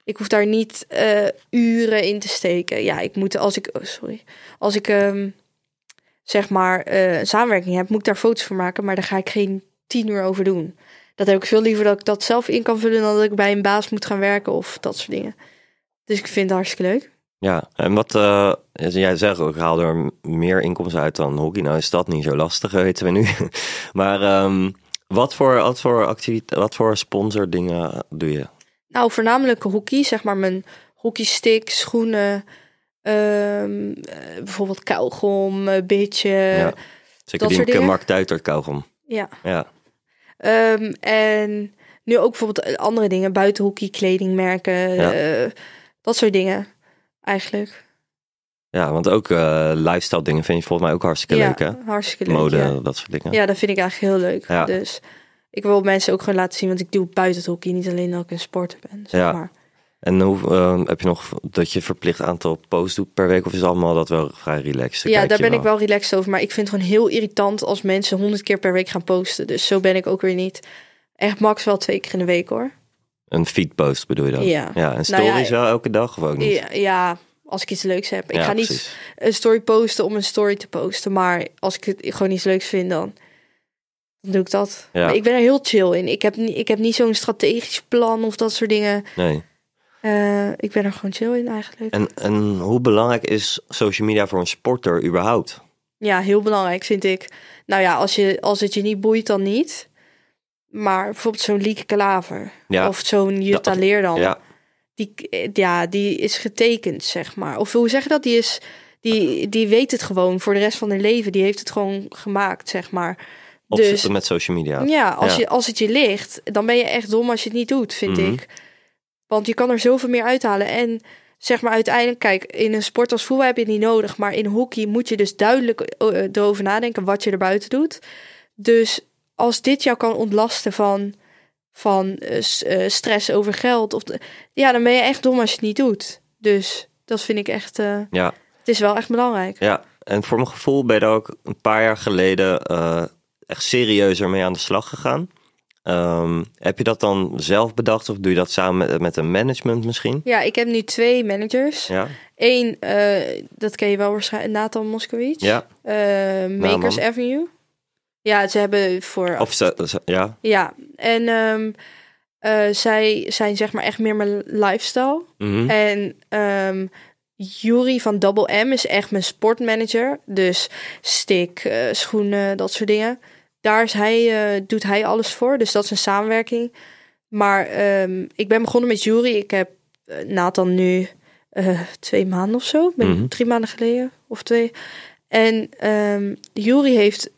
Ik hoef daar niet eh, uren in te steken. Ja, ik moet als ik, oh, sorry, als ik ehm, zeg maar eh, een samenwerking heb, moet ik daar foto's voor maken, maar daar ga ik geen tien uur over doen. Dat heb ik veel liever dat ik dat zelf in kan vullen dan dat ik bij een baas moet gaan werken of dat soort dingen. Dus ik vind het hartstikke leuk.
Ja, en wat eh, jij zegt, ook, ik haal er meer inkomsten uit dan hockey. Nou is dat niet zo lastig, eh, weten we nu. maar ehm, wat, voor, wat, voor activite- wat voor sponsordingen doe je?
Nou, voornamelijk hockey, zeg maar mijn hockeystick, schoenen, ehm, eh, bijvoorbeeld kauwgom, eh, beetje.
ja. Zeker
dat soort
die
dingen?
Mark Duiter kauwgom.
Ja.
Ja.
Ehm, en nu ook bijvoorbeeld eh, andere dingen, buitenhoekie, kledingmerken,
Ja.
eh, dat soort dingen eigenlijk.
ja, want ook eh, lifestyle dingen vind je volgens mij ook hartstikke
ja,
leuk, hè?
hartstikke leuk.
Mode,
Ja.
dat soort dingen.
ja, dat vind ik eigenlijk heel leuk.
Ja.
Dus ik wil mensen ook gewoon laten zien, want ik doe buiten het hockey, niet alleen dat ik een sporter ben. Zeg
Ja.
maar.
En hoe, eh, heb je nog dat je verplicht aantal posts doet per week? Of is het allemaal dat wel vrij relaxed?
ja,
Kijk
daar
je
ben ik wel relaxed over. Maar ik vind het gewoon heel irritant als mensen honderd keer per week gaan posten. Dus zo ben ik ook weer niet. Echt max wel twee keer in de week hoor.
Een feedpost bedoel je dan?
Ja.
en
Nou
stories
ja,
wel elke dag of ook niet?
Ja, ja, als ik iets leuks heb. Ik
Ja,
ga niet
precies.
een story posten om een story te posten. Maar als ik het gewoon iets leuks vind, dan, dan doe ik dat.
Ja.
Maar ik ben er heel chill in. Ik heb, ni- ik heb niet zo'n strategisch plan of dat soort dingen.
Nee.
Eh, ik ben er gewoon chill in eigenlijk.
En, en hoe belangrijk is social media voor een sporter überhaupt?
Ja, heel belangrijk vind ik. Nou ja, als, je, als het je niet boeit, dan niet. Maar bijvoorbeeld zo'n Lieke Klaver.
Ja.
Of zo'n Jutta
Dat-
Leerdam.
Ja,
Die, eh, ja, die is getekend, zeg maar. Of hoe zeg je dat? Die, is, die, die weet het gewoon voor de rest van haar leven. Die heeft het gewoon gemaakt, zeg maar.
opzetten met social media.
Dus- Ja, als,
Ja.
Je, als het je ligt, dan ben je echt dom als je het niet doet, vind
Mhm.
ik. Want je kan er zoveel meer uithalen. En zeg maar uiteindelijk, kijk, in een sport als voetbal heb je het niet nodig. Maar in hockey moet je dus duidelijk eh, erover nadenken wat je erbuiten doet. Dus als dit jou kan ontlasten van, van eh, s- eh, stress over geld. Of, de- ja, dan ben je echt dom als je het niet doet. Dus dat vind ik echt, eh,
Ja,
het is wel echt belangrijk.
ja. En voor mijn gevoel ben je daar ook een paar jaar geleden eh, echt serieuzer mee aan de slag gegaan. Ehm, heb je dat dan zelf bedacht of doe je dat samen met, met een management misschien?
Ja, ik heb nu twee managers.
Ja,
Eén, eh, dat ken je wel waarschijnlijk, Nathan Moskowitz.
ja.
Eh, Makers
man.
Avenue. Ja, ze hebben voor.
Of ze- ze- ja.
Ja, en ehm, eh, zij zijn zeg maar echt meer mijn lifestyle.
Mhm.
En ehm Jury van Double M is echt mijn sportmanager. Dus stick, eh, schoenen, dat soort dingen. Daar is hij, eh, doet hij alles voor, dus dat is een samenwerking. Maar ehm, ik ben begonnen met jury. Ik heb eh, Nathan nu eh, twee maanden of zo. Ben
Mhm.
Drie maanden geleden of twee. En ehm Jury heeft,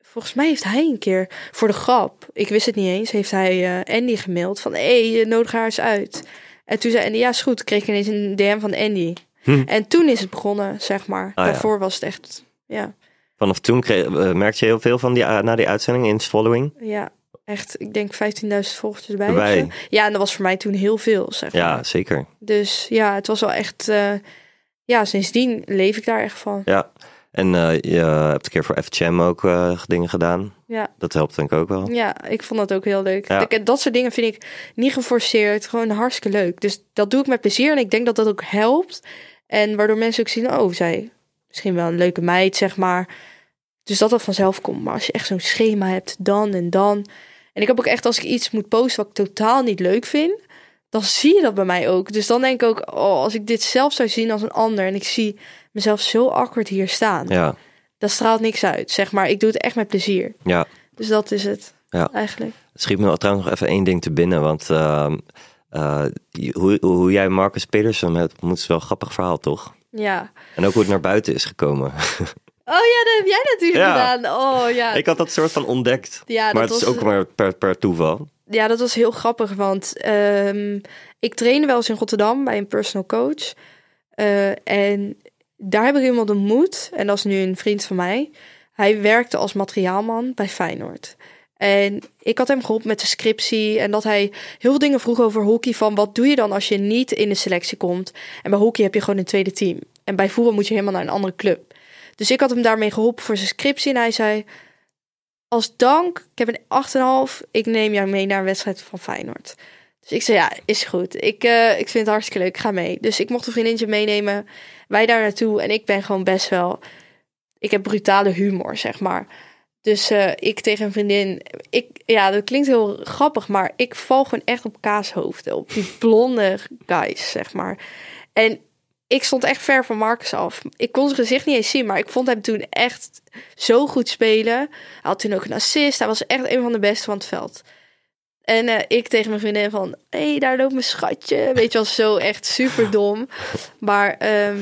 volgens mij heeft hij een keer voor de grap, ik wist het niet eens, heeft hij eh, Andy gemaild van hé, hey, eh, nodig haar eens uit. En toen zei Andy, ja is goed, kreeg ik ineens een DM van Andy.
Hm. Ah,
En toen is het begonnen, zeg maar.
ja.
Daarvoor was het echt, ja,
Vanaf toen kreeg, eh, merkte je heel veel van die, eh, na die uitzending in Following.
ja, echt, ik denk 15.000 volgers erbij. of
Erbij.
zo. Ja, en dat was voor mij toen heel veel, zeg
Ja,
maar.
zeker.
Dus ja, het was wel echt, eh, ja, sindsdien leef ik daar echt van.
Ja. En eh, je hebt een keer voor FHM ook eh, dingen gedaan.
Ja.
Dat helpt denk ik ook wel.
Ja, ik vond dat ook heel leuk.
Ja.
Ik- dat soort dingen vind ik niet geforceerd. Gewoon hartstikke leuk. Dus dat doe ik met plezier. En ik denk dat dat ook helpt. En waardoor mensen ook zien, oh, zij misschien wel een leuke meid, zeg maar. Dus dat dat vanzelf komt. Maar als je echt zo'n schema hebt, dan en dan. En ik heb ook echt, als ik iets moet posten wat ik totaal niet leuk vind, dan zie je dat bij mij ook. Dus dan denk ik ook, oh, als ik dit zelf zou zien als een ander en ik zie mezelf zo awkward hier staan,
Ja,
dat straalt niks uit, zeg maar. Ik doe het echt met plezier.
ja.
Dus dat is het
Ja.
eigenlijk.
Schiet me trouwens nog even één ding te binnen. Want ehm, eh, hoe, hoe jij Marcus Pedersen hebt ontmoet is wel een grappig verhaal, toch?
Ja.
En ook hoe het naar buiten is gekomen.
Oh ja, dat heb jij natuurlijk
Ja.
gedaan. Oh ja.
ik had dat soort van ontdekt.
Ja, dat
maar het is
was-
ook maar per, per toeval.
Ja, dat was heel grappig, want ehm, ik trainde wel eens in Rotterdam bij een personal coach. Eh, en daar heb ik iemand ontmoet, en dat is nu een vriend van mij. Hij werkte als materiaalman bij Feyenoord. En ik had hem geholpen met de scriptie en dat hij heel veel dingen vroeg over hockey. Van wat doe je dan als je niet in de selectie komt? En bij hockey heb je gewoon een tweede team. En bij voetbal moet je helemaal naar een andere club. Dus ik had hem daarmee geholpen voor zijn scriptie. En hij zei, als dank, ik heb een 8,5. Ik neem jou mee naar een wedstrijd van Feyenoord. Dus ik zei, ja, is goed. Ik, eh, ik vind het hartstikke leuk, ik ga mee. Dus ik mocht een vriendinnetje meenemen. Wij daar naartoe. En ik ben gewoon best wel... Ik heb brutale humor, zeg maar. Dus eh, ik tegen een vriendin... Ik, ja, dat klinkt heel grappig, maar ik val gewoon echt op kaashoofden. Op die blonde guys, zeg maar. En ik stond echt ver van Marcus af. Ik kon zijn gezicht niet eens zien, maar ik vond hem toen echt zo goed spelen. Hij had toen ook een assist. Hij was echt een van de beste van het veld. En eh, ik tegen mijn vriendin van, hé, hey, daar loopt mijn schatje. Weet je wel, zo echt super dom. Maar, ehm,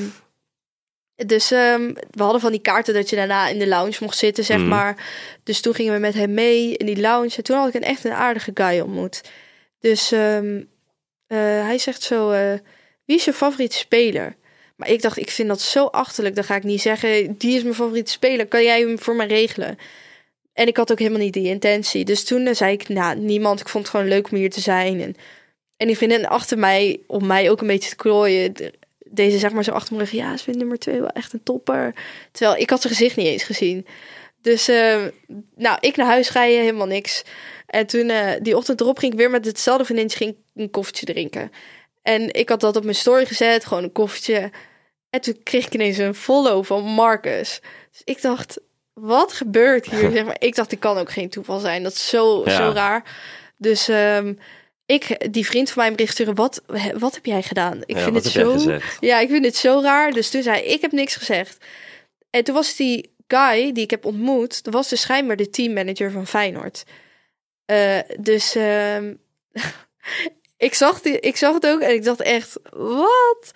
dus ehm, we hadden van die kaarten dat je daarna in de lounge mocht zitten, zeg
Mhm.
maar. Dus toen gingen we met hem mee in die lounge. En toen had ik een, echt een aardige guy ontmoet. Dus ehm, eh, hij zegt zo, eh, wie is je favoriete speler? Maar ik dacht, ik vind dat zo achterlijk. Dan ga ik niet zeggen, die is mijn favoriete speler. Kan jij hem voor mij regelen? En ik had ook helemaal niet die intentie. Dus toen eh, zei ik, nou, niemand. Ik vond het gewoon leuk om hier te zijn. En, en die vriendin achter mij, om mij ook een beetje te klooien... de- Deze zeg maar zo achter me rug, ja, ze vindt nummer twee wel echt een topper. Terwijl ik had zijn gezicht niet eens gezien. Dus, eh, nou, ik naar huis rijden, helemaal niks. En toen, eh, die ochtend erop, ging ik weer met hetzelfde vriendinnetje ging ik een koffietje drinken. En ik had dat op mijn story gezet, gewoon een koffietje. En toen kreeg ik ineens een follow van Marcus. Dus ik dacht, wat gebeurt hier? Zeg maar, ik dacht, dit kan ook geen toeval zijn. Dat is zo,
Ja.
zo raar. Dus ehm, ik, die vriend van mij een bericht sturen, wat, hè, wat heb jij gedaan? Ik
ja,
vind
wat
het
heb jij
zo...
gezegd?
Ja, ik vind het zo raar. Dus toen zei hij, ik heb niks gezegd. En toen was die guy die ik heb ontmoet, dat was dus schijnbaar de teammanager van Feyenoord. Eh, dus ehm, ik, zag die, ik zag het ook en ik dacht echt, wat?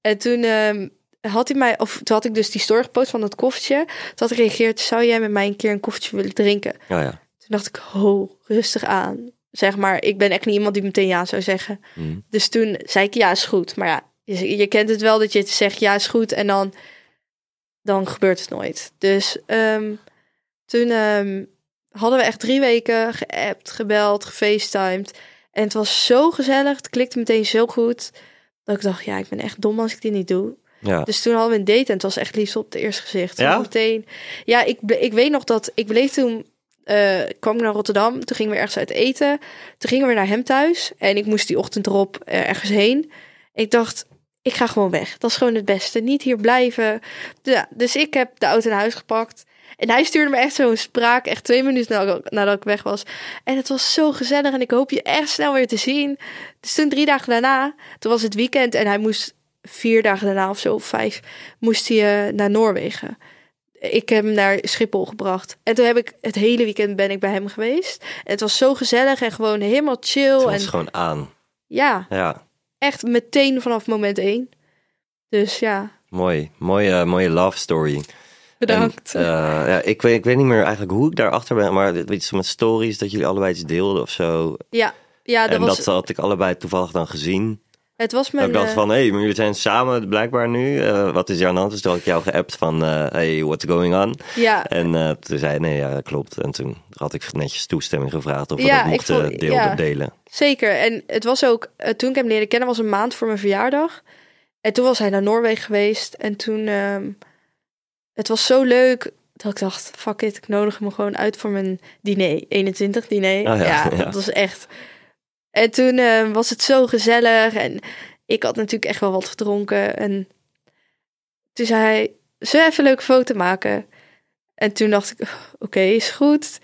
En toen ehm, had hij mij, of toen had ik dus die story gepost van dat koffertje. Toen had ik gereageerd, zou jij met mij een keer een koffertje willen drinken?
Ja, ja.
Toen dacht ik, ho, rustig aan. Zeg maar, ik ben echt niet iemand die meteen ja zou zeggen.
Mhm.
Dus toen zei ik, ja, is goed. Maar ja, je, je kent het wel dat je zegt, ja, is goed. En dan, dan gebeurt het nooit. Dus ehm, toen ehm, hadden we echt drie weken geappt, gebeld, gefacetimed. En het was zo gezellig, het klikte meteen zo goed. Dat ik dacht, ja, ik ben echt dom als ik dit niet doe.
Ja.
Dus toen hadden we een date en het was echt liefst op het eerste gezicht.
Ja?
Ja? Meteen. Ja, ik, ble- ik weet nog dat ik bleef toen. eh, kwam ik naar Rotterdam, toen gingen we ergens uit eten. Toen gingen we naar hem thuis en ik moest die ochtend erop eh, ergens heen. Ik dacht, ik ga gewoon weg. Dat is gewoon het beste. Niet hier blijven. Ja, dus ik heb de auto naar huis gepakt. En hij stuurde me echt zo'n spraak, echt twee minuten na- nadat ik weg was. En het was zo gezellig en ik hoop je echt snel weer te zien. Dus toen drie dagen daarna, toen was het weekend en hij moest vier dagen daarna of zo, of vijf, moest hij eh, naar Noorwegen. Ik heb hem naar Schiphol gebracht. En toen heb ik het hele weekend ben ik bij hem geweest. En het was zo gezellig en gewoon helemaal chill.
Het
en
was gewoon aan.
ja,
Ja,
echt meteen vanaf moment één. Dus ja,
mooi. Mooie, mooie love story.
bedankt.
En, eh, ja, ik, weet, ik weet niet meer eigenlijk hoe ik daarachter ben, maar dit- iets met stories dat jullie allebei iets deelden of zo.
ja, ja dat
en
was,
dat had ik allebei toevallig dan gezien.
het was
Dat
mijn...
ik dacht
eh,
van, hé, maar jullie zijn samen blijkbaar nu. Eh, wat is er aan de hand? Dus toen had ik jou geappt van, eh, hey, what's going on?
ja,
En eh, toen zei hij, nee, ja, klopt. En toen had ik netjes toestemming gevraagd of we
Ja,
dat
ik
mochten
vond-
deel-
ja.
delen.
Zeker. En het was ook, eh, toen ik hem leerde kennen, was een maand voor mijn verjaardag. En toen was hij naar Noorwegen geweest. En toen, ehm, het was zo leuk dat ik dacht, fuck it, ik nodig hem gewoon uit voor mijn diner. 21 diner.
Ah ja,
ja,
ja.
dat was echt. En toen ehm, was het zo gezellig. En ik had natuurlijk echt wel wat gedronken. En toen zei hij, zullen we even een leuke foto maken? En toen dacht ik, "Oh, oké, is goed.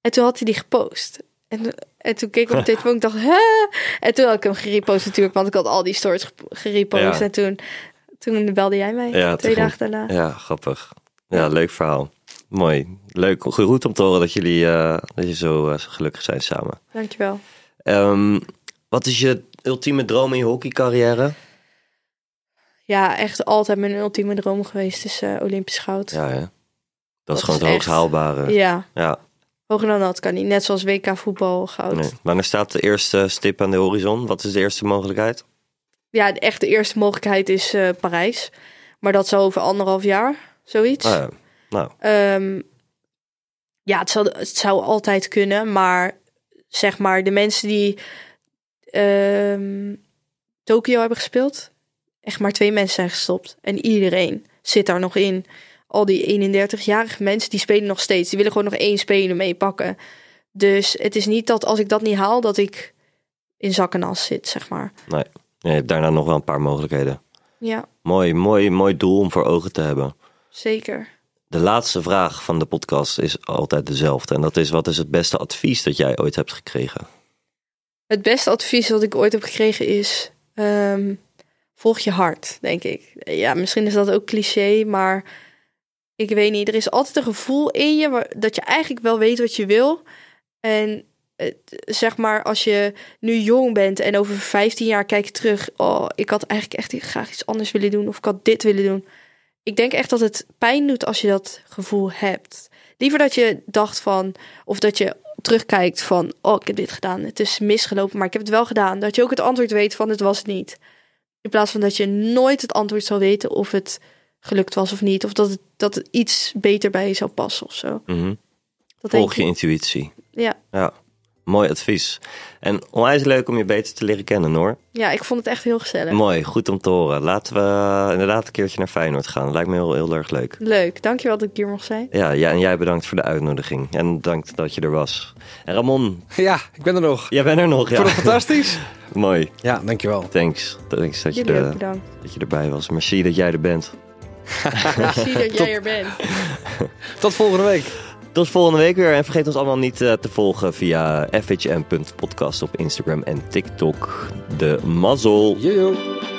En toen had hij die gepost. En, en toen keek ik op de telefoon en ik dacht, hè? En toen had ik hem gerepost natuurlijk, want ik had al die stories gep- gerepost.
Ja.
En toen, toen belde jij mij,
Ja,
twee
toen-
dagen daarna.
Ja, grappig. Ja, leuk verhaal. Mooi. Leuk. Geroet om te horen dat jullie eh, dat je zo eh, gelukkig zijn samen.
Dankjewel.
Ehm, wat is je ultieme droom in je hockeycarrière?
Ja, echt altijd mijn ultieme droom geweest is eh, Olympisch goud.
Ja, hè? Dat, is
is
gewoon het
echt-
hoogst haalbare. Ja.
Ja, hoger dan dat kan niet. Net zoals WK voetbal goud.
nee. Wanneer staat de eerste stip aan de horizon? Wat is de eerste mogelijkheid?
Ja, de- echt de eerste mogelijkheid is eh, Parijs. Maar dat zal over anderhalf jaar, zoiets.
Ah, ja. nou,
Ehm, ja, het zou, het zou altijd kunnen, maar zeg maar de mensen die ehm, Tokio hebben gespeeld, echt maar twee mensen zijn gestopt. En iedereen zit daar nog in. Al die 31-jarige mensen, die spelen nog steeds. Die willen gewoon nog één speler meepakken. Dus het is niet dat als ik dat niet haal, dat ik in zak en as zit, zeg maar.
je hebt daarna nog wel een paar mogelijkheden.
Ja,
Mooi, mooi, mooi doel om voor ogen te hebben.
zeker.
De laatste vraag van de podcast is altijd dezelfde. En dat is, wat is het beste advies dat jij ooit hebt gekregen?
Het beste advies dat ik ooit heb gekregen is: ehm, volg je hart, denk ik. Ja, misschien is dat ook cliché, maar ik weet niet. Er is altijd een gevoel in je waar- dat je eigenlijk wel weet wat je wil. En het- zeg maar, als je nu jong bent en over 15 jaar kijk je terug, oh, ik had eigenlijk echt graag iets anders willen doen of ik had dit willen doen. Ik denk echt dat het pijn doet als je dat gevoel hebt. Liever dat je dacht van, of dat je terugkijkt van, oh, ik heb dit gedaan, het is misgelopen, maar ik heb het wel gedaan. Dat je ook het antwoord weet van, het was het niet. In plaats van dat je nooit het antwoord zal weten of het gelukt was of niet, of dat het, dat het iets beter bij je zou passen of zo.
Mhm.
Dat
Volg je
denk ik.
intuïtie.
Ja.
Ja, mooi advies. En onwijs leuk om je beter te leren kennen, hoor.
ja, ik vond het echt heel gezellig.
Mooi, goed om te horen. Laten we inderdaad een keertje naar Feyenoord gaan. Lijkt me heel, heel erg leuk.
Leuk, dankjewel dat ik hier mocht zijn.
Ja, ja, en jij bedankt voor de uitnodiging. En bedankt dat je er was. En Ramon,
Ja, ik ben er nog.
jij bent er nog,
Ik vond
ja.
het fantastisch.
Mooi,
Ja, dankjewel.
thanks. Thanks dat je,
Jullie ook
er-
bedankt.
dat je erbij was. Merci dat jij er bent.
Ik zie dat jij er bent.
Tot volgende week.
Tot volgende week weer. En vergeet ons allemaal niet eh, te volgen via fhm.podcast op Instagram en TikTok. De mazzel.
Jojo.